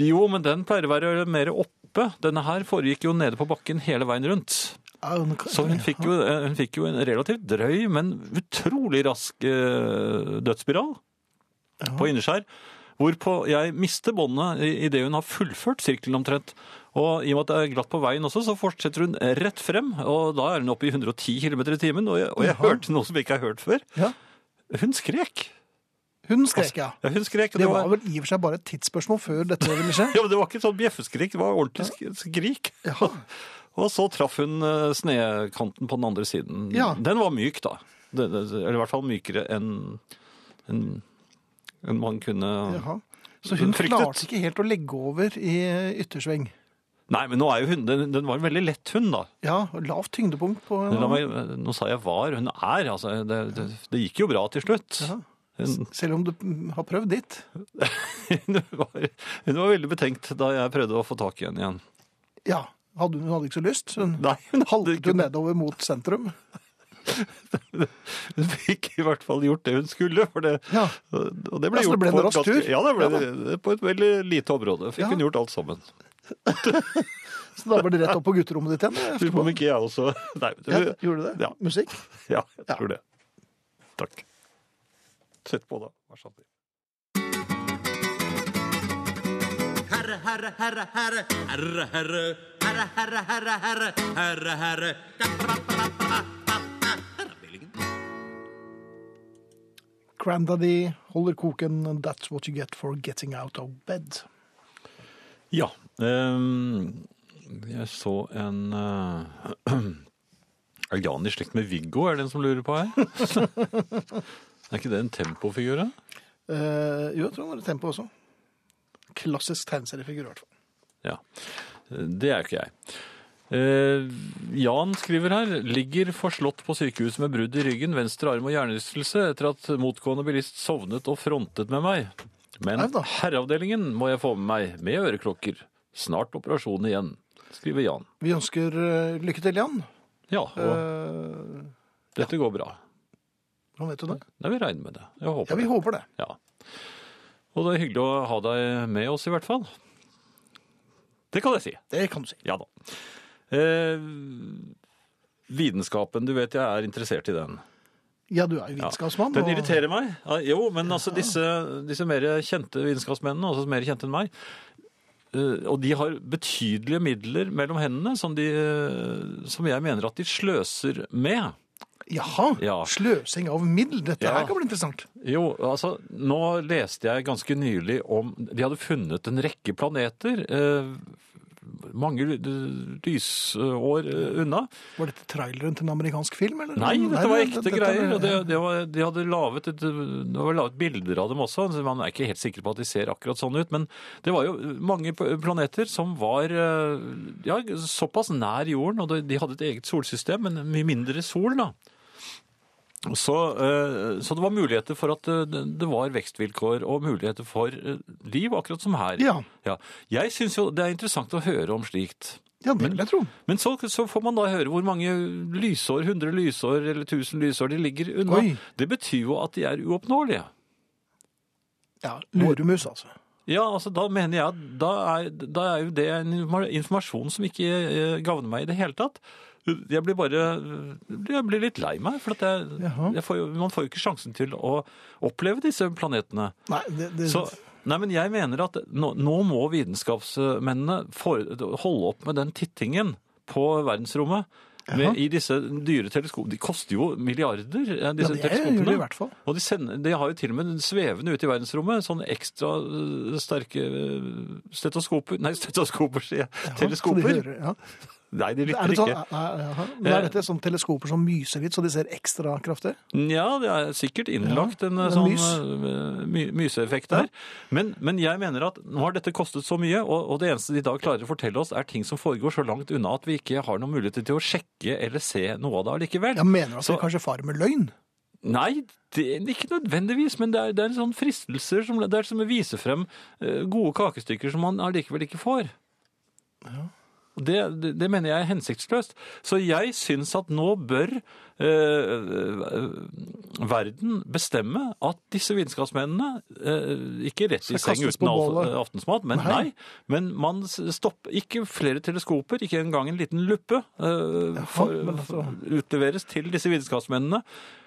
[SPEAKER 2] Eh, Jo, men den pleier å være mer oppe. Denne her foregikk jo nede på bakken hele veien rundt.
[SPEAKER 1] Ja, hun kan-
[SPEAKER 2] Så hun fikk jo, eh, hun fikk jo en relativt drøy, men utrolig rask eh, dødsspiral på inneskjær. Hvorpå jeg mister båndet idet hun har fullført sirkelen omtrent. Og i og med at det er glatt på veien også, så fortsetter hun rett frem. Og da er hun oppe i 110 km i timen, og jeg, og jeg
[SPEAKER 1] Jaha.
[SPEAKER 2] hørte noe som jeg ikke har hørt før. Hun skrek.
[SPEAKER 1] Hun skrek, ja.
[SPEAKER 2] Ja, hun skrek. og
[SPEAKER 1] Det var vel i og for seg bare et tidsspørsmål før dette ville skje.
[SPEAKER 2] ja, men det var ikke sånn bjeffeskrik, det var ordentlig sk- skrik. og så traff hun eh, snekanten på den andre siden.
[SPEAKER 1] Ja.
[SPEAKER 2] Den var myk, da. Den- den- eller i hvert fall mykere enn enn- enn man kunne
[SPEAKER 1] Jaha. Så hun klarte ikke helt å legge over i eh, yttersving.
[SPEAKER 2] Nei, men nå er jo hun Den, den var en veldig lett hund, da.
[SPEAKER 1] Ja, og lavt tyngdepunkt på
[SPEAKER 2] La meg, nå sa jeg var, hun er. Altså, det, det, det gikk jo bra til slutt. Hun,
[SPEAKER 1] Selv om du mm, har prøvd ditt.
[SPEAKER 2] hun, var, hun var veldig betenkt da jeg prøvde å få tak i henne igjen.
[SPEAKER 1] Ja. Hadde hun hun hadde ikke så lyst. så Hun,
[SPEAKER 2] Nei,
[SPEAKER 1] haltet jo nedover mot sentrum.
[SPEAKER 2] Hun fikk i hvert fall gjort det hun skulle, for det, og det ble
[SPEAKER 1] Ja, så det
[SPEAKER 2] gjort
[SPEAKER 1] ble en
[SPEAKER 2] på, et
[SPEAKER 1] rask tur?
[SPEAKER 2] ja, det ble,
[SPEAKER 1] Ja
[SPEAKER 2] på et veldig lite område. Fikk hun gjort alt sammen.
[SPEAKER 1] Så da var det rett opp på gutterommet ditt igjen. eh,
[SPEAKER 2] Lurer på om ikke jeg også Nei,
[SPEAKER 1] Ja, gjorde du det?
[SPEAKER 2] Ja,
[SPEAKER 1] Musikk?
[SPEAKER 2] ja jeg tror det. Takk. Sett på, da. Vær så snill.
[SPEAKER 12] Herre, herre, herre, herre, herre, herre, herre, herre, herre, herre, herre, herre.
[SPEAKER 1] Grandaddy holder koken, that's what you get for getting out of bed.
[SPEAKER 2] Ja. ehm, jeg så en eh, Er Jan i slekt med Viggo, er det en som lurer på her? er ikke det en tempofigur? da?
[SPEAKER 1] Eh, jo, jeg tror han har et tempo også. Klassisk tegneseriefigur, i hvert fall.
[SPEAKER 2] Ja. Det er jo ikke jeg. Eh, Jan skriver her ligger forslått på sykehuset med brudd i ryggen, venstre arm og hjernerystelse etter at motgående bilist sovnet og frontet med meg. Men herreavdelingen må jeg få med meg, med øreklokker. Snart operasjon igjen, skriver Jan.
[SPEAKER 1] Vi ønsker eh, lykke til, Jan.
[SPEAKER 2] Ja, og
[SPEAKER 1] Eh,
[SPEAKER 2] dette går bra.
[SPEAKER 1] Nå vet du det.
[SPEAKER 2] Nei, vi regner med det. Jeg håper
[SPEAKER 1] Ja, vi
[SPEAKER 2] det.
[SPEAKER 1] håper det.
[SPEAKER 2] Ja. Og det er hyggelig å ha deg med oss i hvert fall. Det kan jeg si.
[SPEAKER 1] Det kan du si.
[SPEAKER 2] Ja da. Eh, vitenskapen, du vet jeg er interessert i den.
[SPEAKER 1] Ja, du er jo
[SPEAKER 2] Ja.
[SPEAKER 1] vitenskapsmann.
[SPEAKER 2] Den
[SPEAKER 1] og-
[SPEAKER 2] irriterer meg. Ja, jo, men altså disse, disse mer kjente vitenskapsmennene, altså mer kjente enn meg, eh, og de har betydelige midler mellom hendene som, de, eh, som jeg mener at de sløser med.
[SPEAKER 1] Jaha,
[SPEAKER 2] Ja.
[SPEAKER 1] sløsing av middel. Dette
[SPEAKER 2] Ja.
[SPEAKER 1] her kan bli interessant.
[SPEAKER 2] Jo, altså, nå leste jeg ganske nylig om De hadde funnet en rekke planeter eh, mange ly- lysår eh, unna.
[SPEAKER 1] Var dette traileren til en amerikansk film, eller?
[SPEAKER 2] Nei, dette var ekte
[SPEAKER 1] dette- dette-
[SPEAKER 2] greier. Og det, det var, de hadde laget, et, det var laget bilder av dem også. så Man er ikke helt sikker på at de ser akkurat sånn ut. Men det var jo mange p- planeter som var eh, ja, såpass nær jorden, og de- de hadde et eget solsystem, men mye mindre sol, da. Så, eh, så det var muligheter for at eh, det det var vekstvilkår og muligheter for eh, liv, akkurat som her.
[SPEAKER 1] Ja.
[SPEAKER 2] Jeg syns jo det er interessant å høre om slikt.
[SPEAKER 1] Ja, det vil jeg tro.
[SPEAKER 2] Men så, så får man da høre hvor mange lysår, 100 lysår eller 1000 lysår de ligger unna.
[SPEAKER 1] Oi.
[SPEAKER 2] Det betyr jo at de er uoppnåelige.
[SPEAKER 1] Ja, luremus, altså.
[SPEAKER 2] Ja, altså da mener jeg at da er, da er jo det en informa- informasjon som ikke eh, gagner meg i det hele tatt. Jeg blir bare jeg blir litt lei meg, for at jeg,
[SPEAKER 1] Jaha.
[SPEAKER 2] jeg får, jo- man får jo ikke sjansen til å oppleve disse planetene.
[SPEAKER 1] Nei, det, det...
[SPEAKER 2] Så, nei, men jeg mener at nå, nå må vitenskapsmennene for, holde opp med den tittingen på verdensrommet. Med, I disse dyre teleskopene. De koster jo milliarder, eh, disse
[SPEAKER 1] Ja, det gjør
[SPEAKER 2] teleskopene.
[SPEAKER 1] de i hvert fall.
[SPEAKER 2] Og de, sender, de har jo til og med svevende ute i verdensrommet sånne ekstra øh, sterke øh, stetoskoper Nei, stetoskoper, sier jeg.
[SPEAKER 1] Så de
[SPEAKER 2] Teleskoper.
[SPEAKER 1] hører, ja.
[SPEAKER 2] Nei, de
[SPEAKER 1] Er
[SPEAKER 2] lytter
[SPEAKER 1] det sånn,
[SPEAKER 2] ikke.
[SPEAKER 1] er, er, men er dette sånn teleskoper som myser litt, så de ser ekstra kraftig?
[SPEAKER 2] Ja, det er sikkert innlagt en
[SPEAKER 1] Ja, en
[SPEAKER 2] sånn
[SPEAKER 1] mys.
[SPEAKER 2] eh, my, myseeffekt der. Men, men jeg mener at nå har dette kostet så mye, og, og det eneste de da klarer å fortelle oss, er ting som foregår så langt unna at vi ikke har noen muligheter til å sjekke eller se noe av det allikevel.
[SPEAKER 1] Jeg mener at
[SPEAKER 2] Så-
[SPEAKER 1] de kanskje farer med løgn.
[SPEAKER 2] Nei, det, ikke nødvendigvis, men det er, det er en sånn fristelser som, det er som å vise frem eh, gode kakestykker som man allikevel ikke får. Det, det, det mener jeg er hensiktsløst. Så jeg syns at nå bør eh, eh, verden bestemme at disse vitenskapsmennene eh, ikke rett i
[SPEAKER 1] Skal
[SPEAKER 2] seng
[SPEAKER 1] kastes
[SPEAKER 2] uten
[SPEAKER 1] på
[SPEAKER 2] al-
[SPEAKER 1] bålet.
[SPEAKER 2] aftensmat, men
[SPEAKER 1] Nei.
[SPEAKER 2] nei. men man s- stopper ikke flere teleskoper, ikke engang en liten luppe eh, for,
[SPEAKER 1] men altså-
[SPEAKER 2] utleveres til disse vitenskapsmennene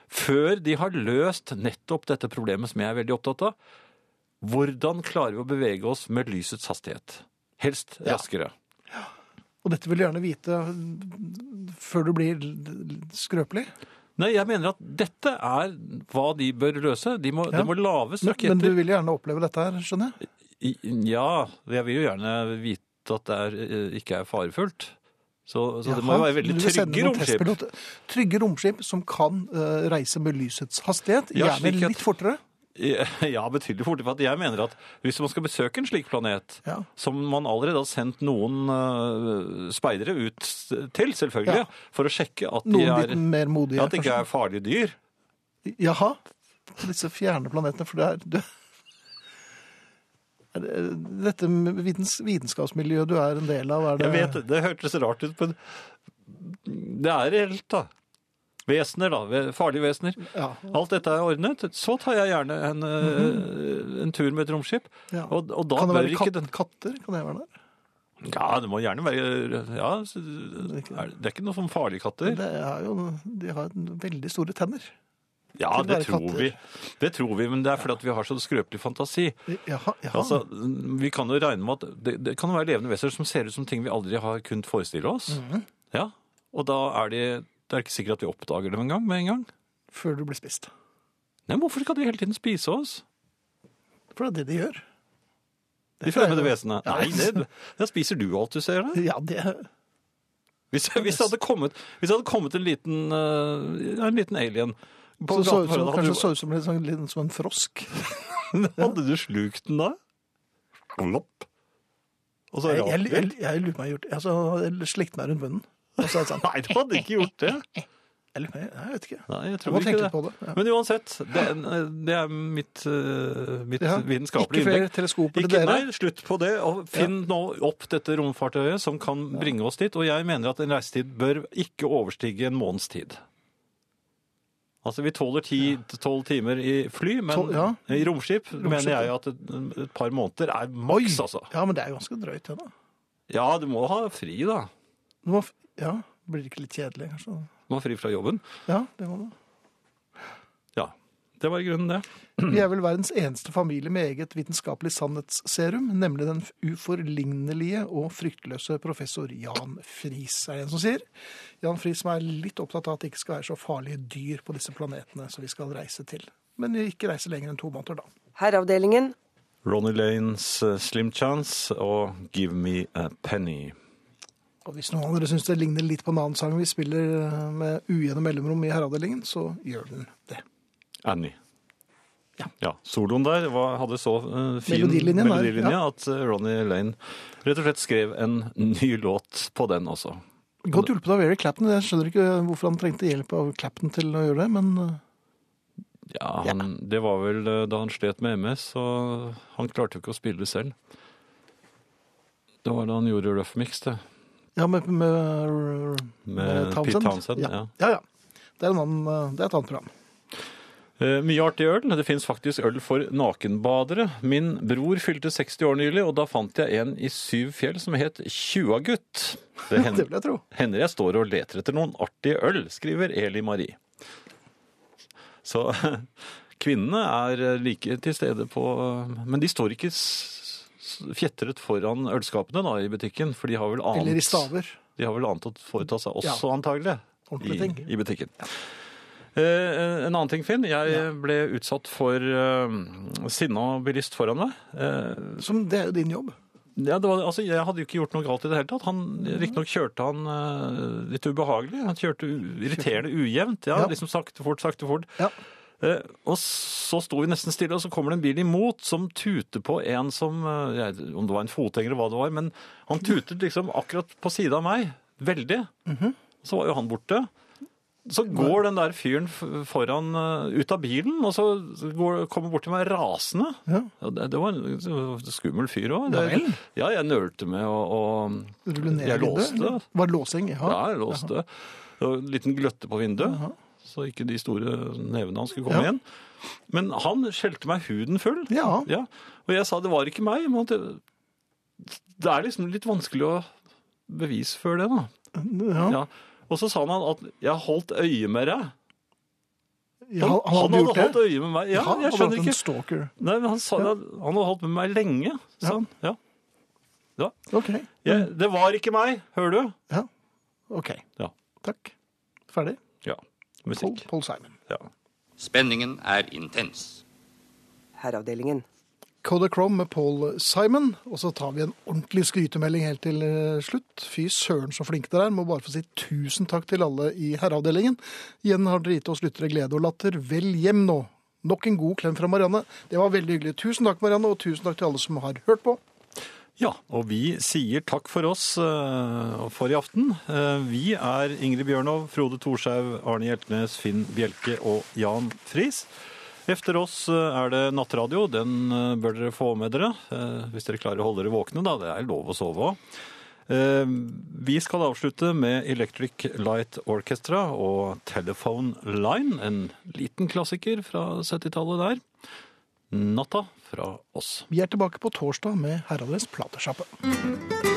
[SPEAKER 2] før de har løst nettopp dette problemet som jeg er veldig opptatt av. Hvordan klarer vi å bevege oss med lysets hastighet? Helst raskere.
[SPEAKER 1] Og dette vil du gjerne vite før du blir skrøpelig.
[SPEAKER 2] Nei, jeg mener at dette er hva de bør løse. De må,
[SPEAKER 1] Ja.
[SPEAKER 2] det må laves
[SPEAKER 1] Men-
[SPEAKER 2] raketter.
[SPEAKER 1] Men du vil gjerne oppleve dette her, skjønner jeg?
[SPEAKER 2] I- Ja, jeg vil jo gjerne vite at det er, eh, ikke er farefullt. Så, så det må jo
[SPEAKER 1] Jaha,
[SPEAKER 2] være veldig
[SPEAKER 1] du vil sende
[SPEAKER 2] trygge
[SPEAKER 1] noen
[SPEAKER 2] romskip.
[SPEAKER 1] testpiloter. Trygge romskip som kan eh, reise med lysets hastighet,
[SPEAKER 2] Ja,
[SPEAKER 1] gjerne
[SPEAKER 2] slik at-
[SPEAKER 1] litt fortere.
[SPEAKER 2] Ja, betydelig fortere. For at jeg mener at hvis man skal besøke en slik planet, som man allerede har sendt noen eh, speidere ut s- til,
[SPEAKER 1] Ja.
[SPEAKER 2] selvfølgelig, for å sjekke at de
[SPEAKER 1] Noen
[SPEAKER 2] er,
[SPEAKER 1] litt mer modige,
[SPEAKER 2] at det ikke er farlige dyr.
[SPEAKER 1] Jaha, på disse fjerne planetene, for det er, du, er det- Dette med vitens, vitenskapsmiljøet du er en del av, er det
[SPEAKER 2] Jeg vet det, det hørtes rart ut, men det er reelt, da. Vesener, da. ve- Farlige vesener. Alt dette er ordnet. Så tar jeg gjerne en, eh, en tur med et romskip.
[SPEAKER 1] Mhm. Ja.
[SPEAKER 2] Og, og da
[SPEAKER 1] Kan det
[SPEAKER 2] bør
[SPEAKER 1] være
[SPEAKER 2] ikke
[SPEAKER 1] kat,
[SPEAKER 2] den
[SPEAKER 1] katter? Kan det være der?
[SPEAKER 2] Ja, det må gjerne være ja, så- er, Det er ikke noe som farlige katter.
[SPEAKER 1] Det er jo, de har veldig store tenner.
[SPEAKER 2] Ja,
[SPEAKER 1] til å være
[SPEAKER 2] det tror
[SPEAKER 1] katter.
[SPEAKER 2] vi. Det tror vi, men det er fordi at vi har så skrøpelig fantasi.
[SPEAKER 1] Jaha, jaha.
[SPEAKER 2] Altså, vi kan jo regne med at det, det kan jo være levende vesener som ser ut som ting vi aldri har kunnet forestille oss.
[SPEAKER 1] Mhm.
[SPEAKER 2] Ja, og da er det, det er ikke sikkert at vi oppdager dem en gang, med en gang.
[SPEAKER 1] Før du blir spist.
[SPEAKER 2] Nei, men hvorfor skal de hele tiden spise oss?
[SPEAKER 1] For det er det de gjør.
[SPEAKER 2] De fremmede vesenene. Nei, det, da spiser du alt du ser der.
[SPEAKER 1] Ja, det
[SPEAKER 2] Hvis, hvis, det hadde kommet, hvis det hadde kommet en liten, eh, en liten alien
[SPEAKER 1] så,
[SPEAKER 2] på
[SPEAKER 1] så, ut
[SPEAKER 2] gaten foran
[SPEAKER 1] som,
[SPEAKER 2] deg,
[SPEAKER 1] Kanskje så
[SPEAKER 2] hadde,
[SPEAKER 1] ut som, litt sånn- litt som en frosk.
[SPEAKER 2] du, hadde du slukt den da? Klopp. Og så
[SPEAKER 1] Jeg,
[SPEAKER 2] rart
[SPEAKER 1] jeg,
[SPEAKER 2] det.
[SPEAKER 1] jeg, jeg lurer på om jeg har gjort altså, jeg Slikte meg rundt munnen. Og så er det sånn.
[SPEAKER 2] Nei, du hadde ikke gjort det.
[SPEAKER 1] Jeg, lurer på- jeg vet ikke.
[SPEAKER 2] Nei, jeg
[SPEAKER 1] Jeg må
[SPEAKER 2] tror
[SPEAKER 1] tenke
[SPEAKER 2] ikke det.
[SPEAKER 1] litt på det, ja.
[SPEAKER 2] Men uansett, det, er- det er mitt, eh, mitt
[SPEAKER 1] Ja,
[SPEAKER 2] vitenskapelige
[SPEAKER 1] ikke flere teleskoper til
[SPEAKER 2] Ikke-
[SPEAKER 1] dere.
[SPEAKER 2] Nei, slutt på det. Og finn nå opp dette romfartøyet som kan bringe oss dit. Og jeg mener at en reisetid bør ikke overstige en måneds tid. Altså, Vi tåler ti-tolv timer i fly, men
[SPEAKER 1] Tolv- ja.
[SPEAKER 2] i romskip,
[SPEAKER 1] Romskip,
[SPEAKER 2] mener jeg
[SPEAKER 1] ja.
[SPEAKER 2] at et, et par måneder er maks, altså.
[SPEAKER 1] Ja, men det er jo ganske drøyt, det da.
[SPEAKER 2] Ja, du må ha fri, da.
[SPEAKER 1] Du må, f- ja, blir det ikke litt kjedelig, kanskje?
[SPEAKER 2] Du må ha fri fra jobben.
[SPEAKER 1] Ja, det må du.
[SPEAKER 2] Ja. Det var i grunnen det.
[SPEAKER 1] Vi er vel verdens eneste familie med eget vitenskapelig sannhetsserum, nemlig den uforlignelige og fryktløse professor Jan Friis, er det en som sier. Jan Friis som er litt opptatt av at det ikke skal være så farlige dyr på disse planetene som vi skal reise til. Men vi ikke reise lenger enn to måneder, da.
[SPEAKER 6] Herreavdelingen.
[SPEAKER 2] Ronny Lanes eh, Slim Chance og Give Me a Penny.
[SPEAKER 1] Og hvis noen av dere syns det ligner litt på en annen sang vi spiller eh, med ujevne mellomrom i herreavdelingen, så gjør den det.
[SPEAKER 2] Annie. Ja. Soloen der var, hadde så eh, fin
[SPEAKER 1] Melodilinjen der,
[SPEAKER 2] melodilinje
[SPEAKER 1] ja.
[SPEAKER 2] at eh, Ronny Lane rett og slett skrev en ny låt på den også.
[SPEAKER 1] Godt hjulpet av Eric Clapton. Jeg skjønner ikke hvorfor han trengte hjelp av Clapton til å gjøre det, men eh,
[SPEAKER 2] Ja, han, Det var vel eh, da han slet med MS, og han klarte jo ikke å spille det selv. Det var da han gjorde Rough Mix, det.
[SPEAKER 1] Ja, med, med,
[SPEAKER 2] Med Pete Townsend,
[SPEAKER 1] ja.
[SPEAKER 2] ja.
[SPEAKER 1] ja, ja. Det er, en annen, det er et annet program.
[SPEAKER 2] Eh, Mye artig øl. Det fins faktisk øl for nakenbadere. Min bror fylte 60 år nylig, og da fant jeg en i Syv fjell som het Tjuagutt. Det, hen-
[SPEAKER 1] Det vil jeg tro.
[SPEAKER 2] hender jeg står og leter etter noen artige øl, skriver Eli Marie. Så kvinnene er like til stede på Men de står ikke s- s- fjetret foran ølskapene da, i butikken, for de har vel annet
[SPEAKER 1] Eller i staver.
[SPEAKER 2] de har vel annet å foreta seg også,
[SPEAKER 1] Ja.
[SPEAKER 2] antagelig.
[SPEAKER 1] Ordentlige
[SPEAKER 2] i,
[SPEAKER 1] ting.
[SPEAKER 2] I butikken. Eh, en annen ting, Finn. Jeg ble utsatt for eh, sinna bilist foran meg. Eh,
[SPEAKER 1] Som det er jo din jobb.
[SPEAKER 2] Ja, det var, altså, jeg hadde jo ikke gjort noe galt i det hele tatt. Han- Riktignok kjørte han eh, litt ubehagelig. Han kjørte u irriterende ujevnt. Ja,
[SPEAKER 1] Ja.
[SPEAKER 2] Liksom sakte fort, sakte fort. Eh, og så sto vi nesten stille, og så kommer det en bil imot som tuter på en som eh, jeg, Om det var en fotgjenger eller hva det var, men han tutet liksom akkurat på siden av meg. Veldig.
[SPEAKER 1] Mhm.
[SPEAKER 2] Så var jo han borte. Så går den der fyren f- foran eh, ut av bilen, og så går, kommer bort til meg rasende.
[SPEAKER 1] Ja.
[SPEAKER 2] Ja, det, det var en det var en skummel fyr òg.
[SPEAKER 1] Ja vel.
[SPEAKER 2] Ja, jeg nølte med og, og
[SPEAKER 1] Rulle ned
[SPEAKER 2] Jeg
[SPEAKER 1] vinduet,
[SPEAKER 2] låste.
[SPEAKER 1] eller? Var det låsing? Ja.
[SPEAKER 2] Ja, jeg låste. Det var En liten gløtte på vinduet, så ikke de store nevene hans skulle komme
[SPEAKER 1] Ja.
[SPEAKER 2] igjen. Men han skjelte meg huden full.
[SPEAKER 1] Ja.
[SPEAKER 2] Og jeg sa det var ikke meg. Men at det- det er liksom litt vanskelig å bevise før det, da.
[SPEAKER 1] Ja.
[SPEAKER 2] Ja. Og så sa han at jeg har holdt øye med deg.
[SPEAKER 1] Ja, han, han hadde gjort
[SPEAKER 2] holdt
[SPEAKER 1] det.
[SPEAKER 2] øye med meg. Ja,
[SPEAKER 1] Ja, han
[SPEAKER 2] jeg
[SPEAKER 1] hadde
[SPEAKER 2] skjønner
[SPEAKER 1] vært en
[SPEAKER 2] ikke.
[SPEAKER 1] stalker.
[SPEAKER 2] Nei, men han, sa, han hadde holdt med meg lenge, sa han. Ja. Ja. Jeg, det var ikke meg, hører du?
[SPEAKER 1] Ja. OK.
[SPEAKER 2] Ja.
[SPEAKER 1] Takk. Ferdig.
[SPEAKER 2] Ja. Musikk.
[SPEAKER 1] Paul Simon.
[SPEAKER 3] Spenningen er intens.
[SPEAKER 6] Herreavdelingen.
[SPEAKER 1] Kodachrome med Paul Simon, og så tar vi en ordentlig skrytemelding helt til eh, slutt. Fy søren så flinke dere er. Må bare få si tusen takk til alle i herreavdelingen. Igjen har dere gitt oss lyttere glede og latter. Vel hjem nå. Nok en god klem fra Marianne. Det var veldig hyggelig. Tusen takk, Marianne, og tusen takk til alle som har hørt på.
[SPEAKER 2] Ja, og vi sier takk for oss eh, for i aften. Eh, Vi er Ingrid Bjørnov, Frode Thorshaug, Arne Hjeltnes, Finn Bjelke og Jan Friis. Efter oss eh, er det nattradio. Den eh, bør dere få med dere. eh, Hvis dere klarer å holde dere våkne, da. Det er lov å sove òg. Vi skal avslutte med Electric Light Orchestra og Telephone Line. En liten klassiker fra 70-tallet der. Natta fra oss.
[SPEAKER 1] Vi er tilbake på torsdag med Herreavdelingens platesjappe.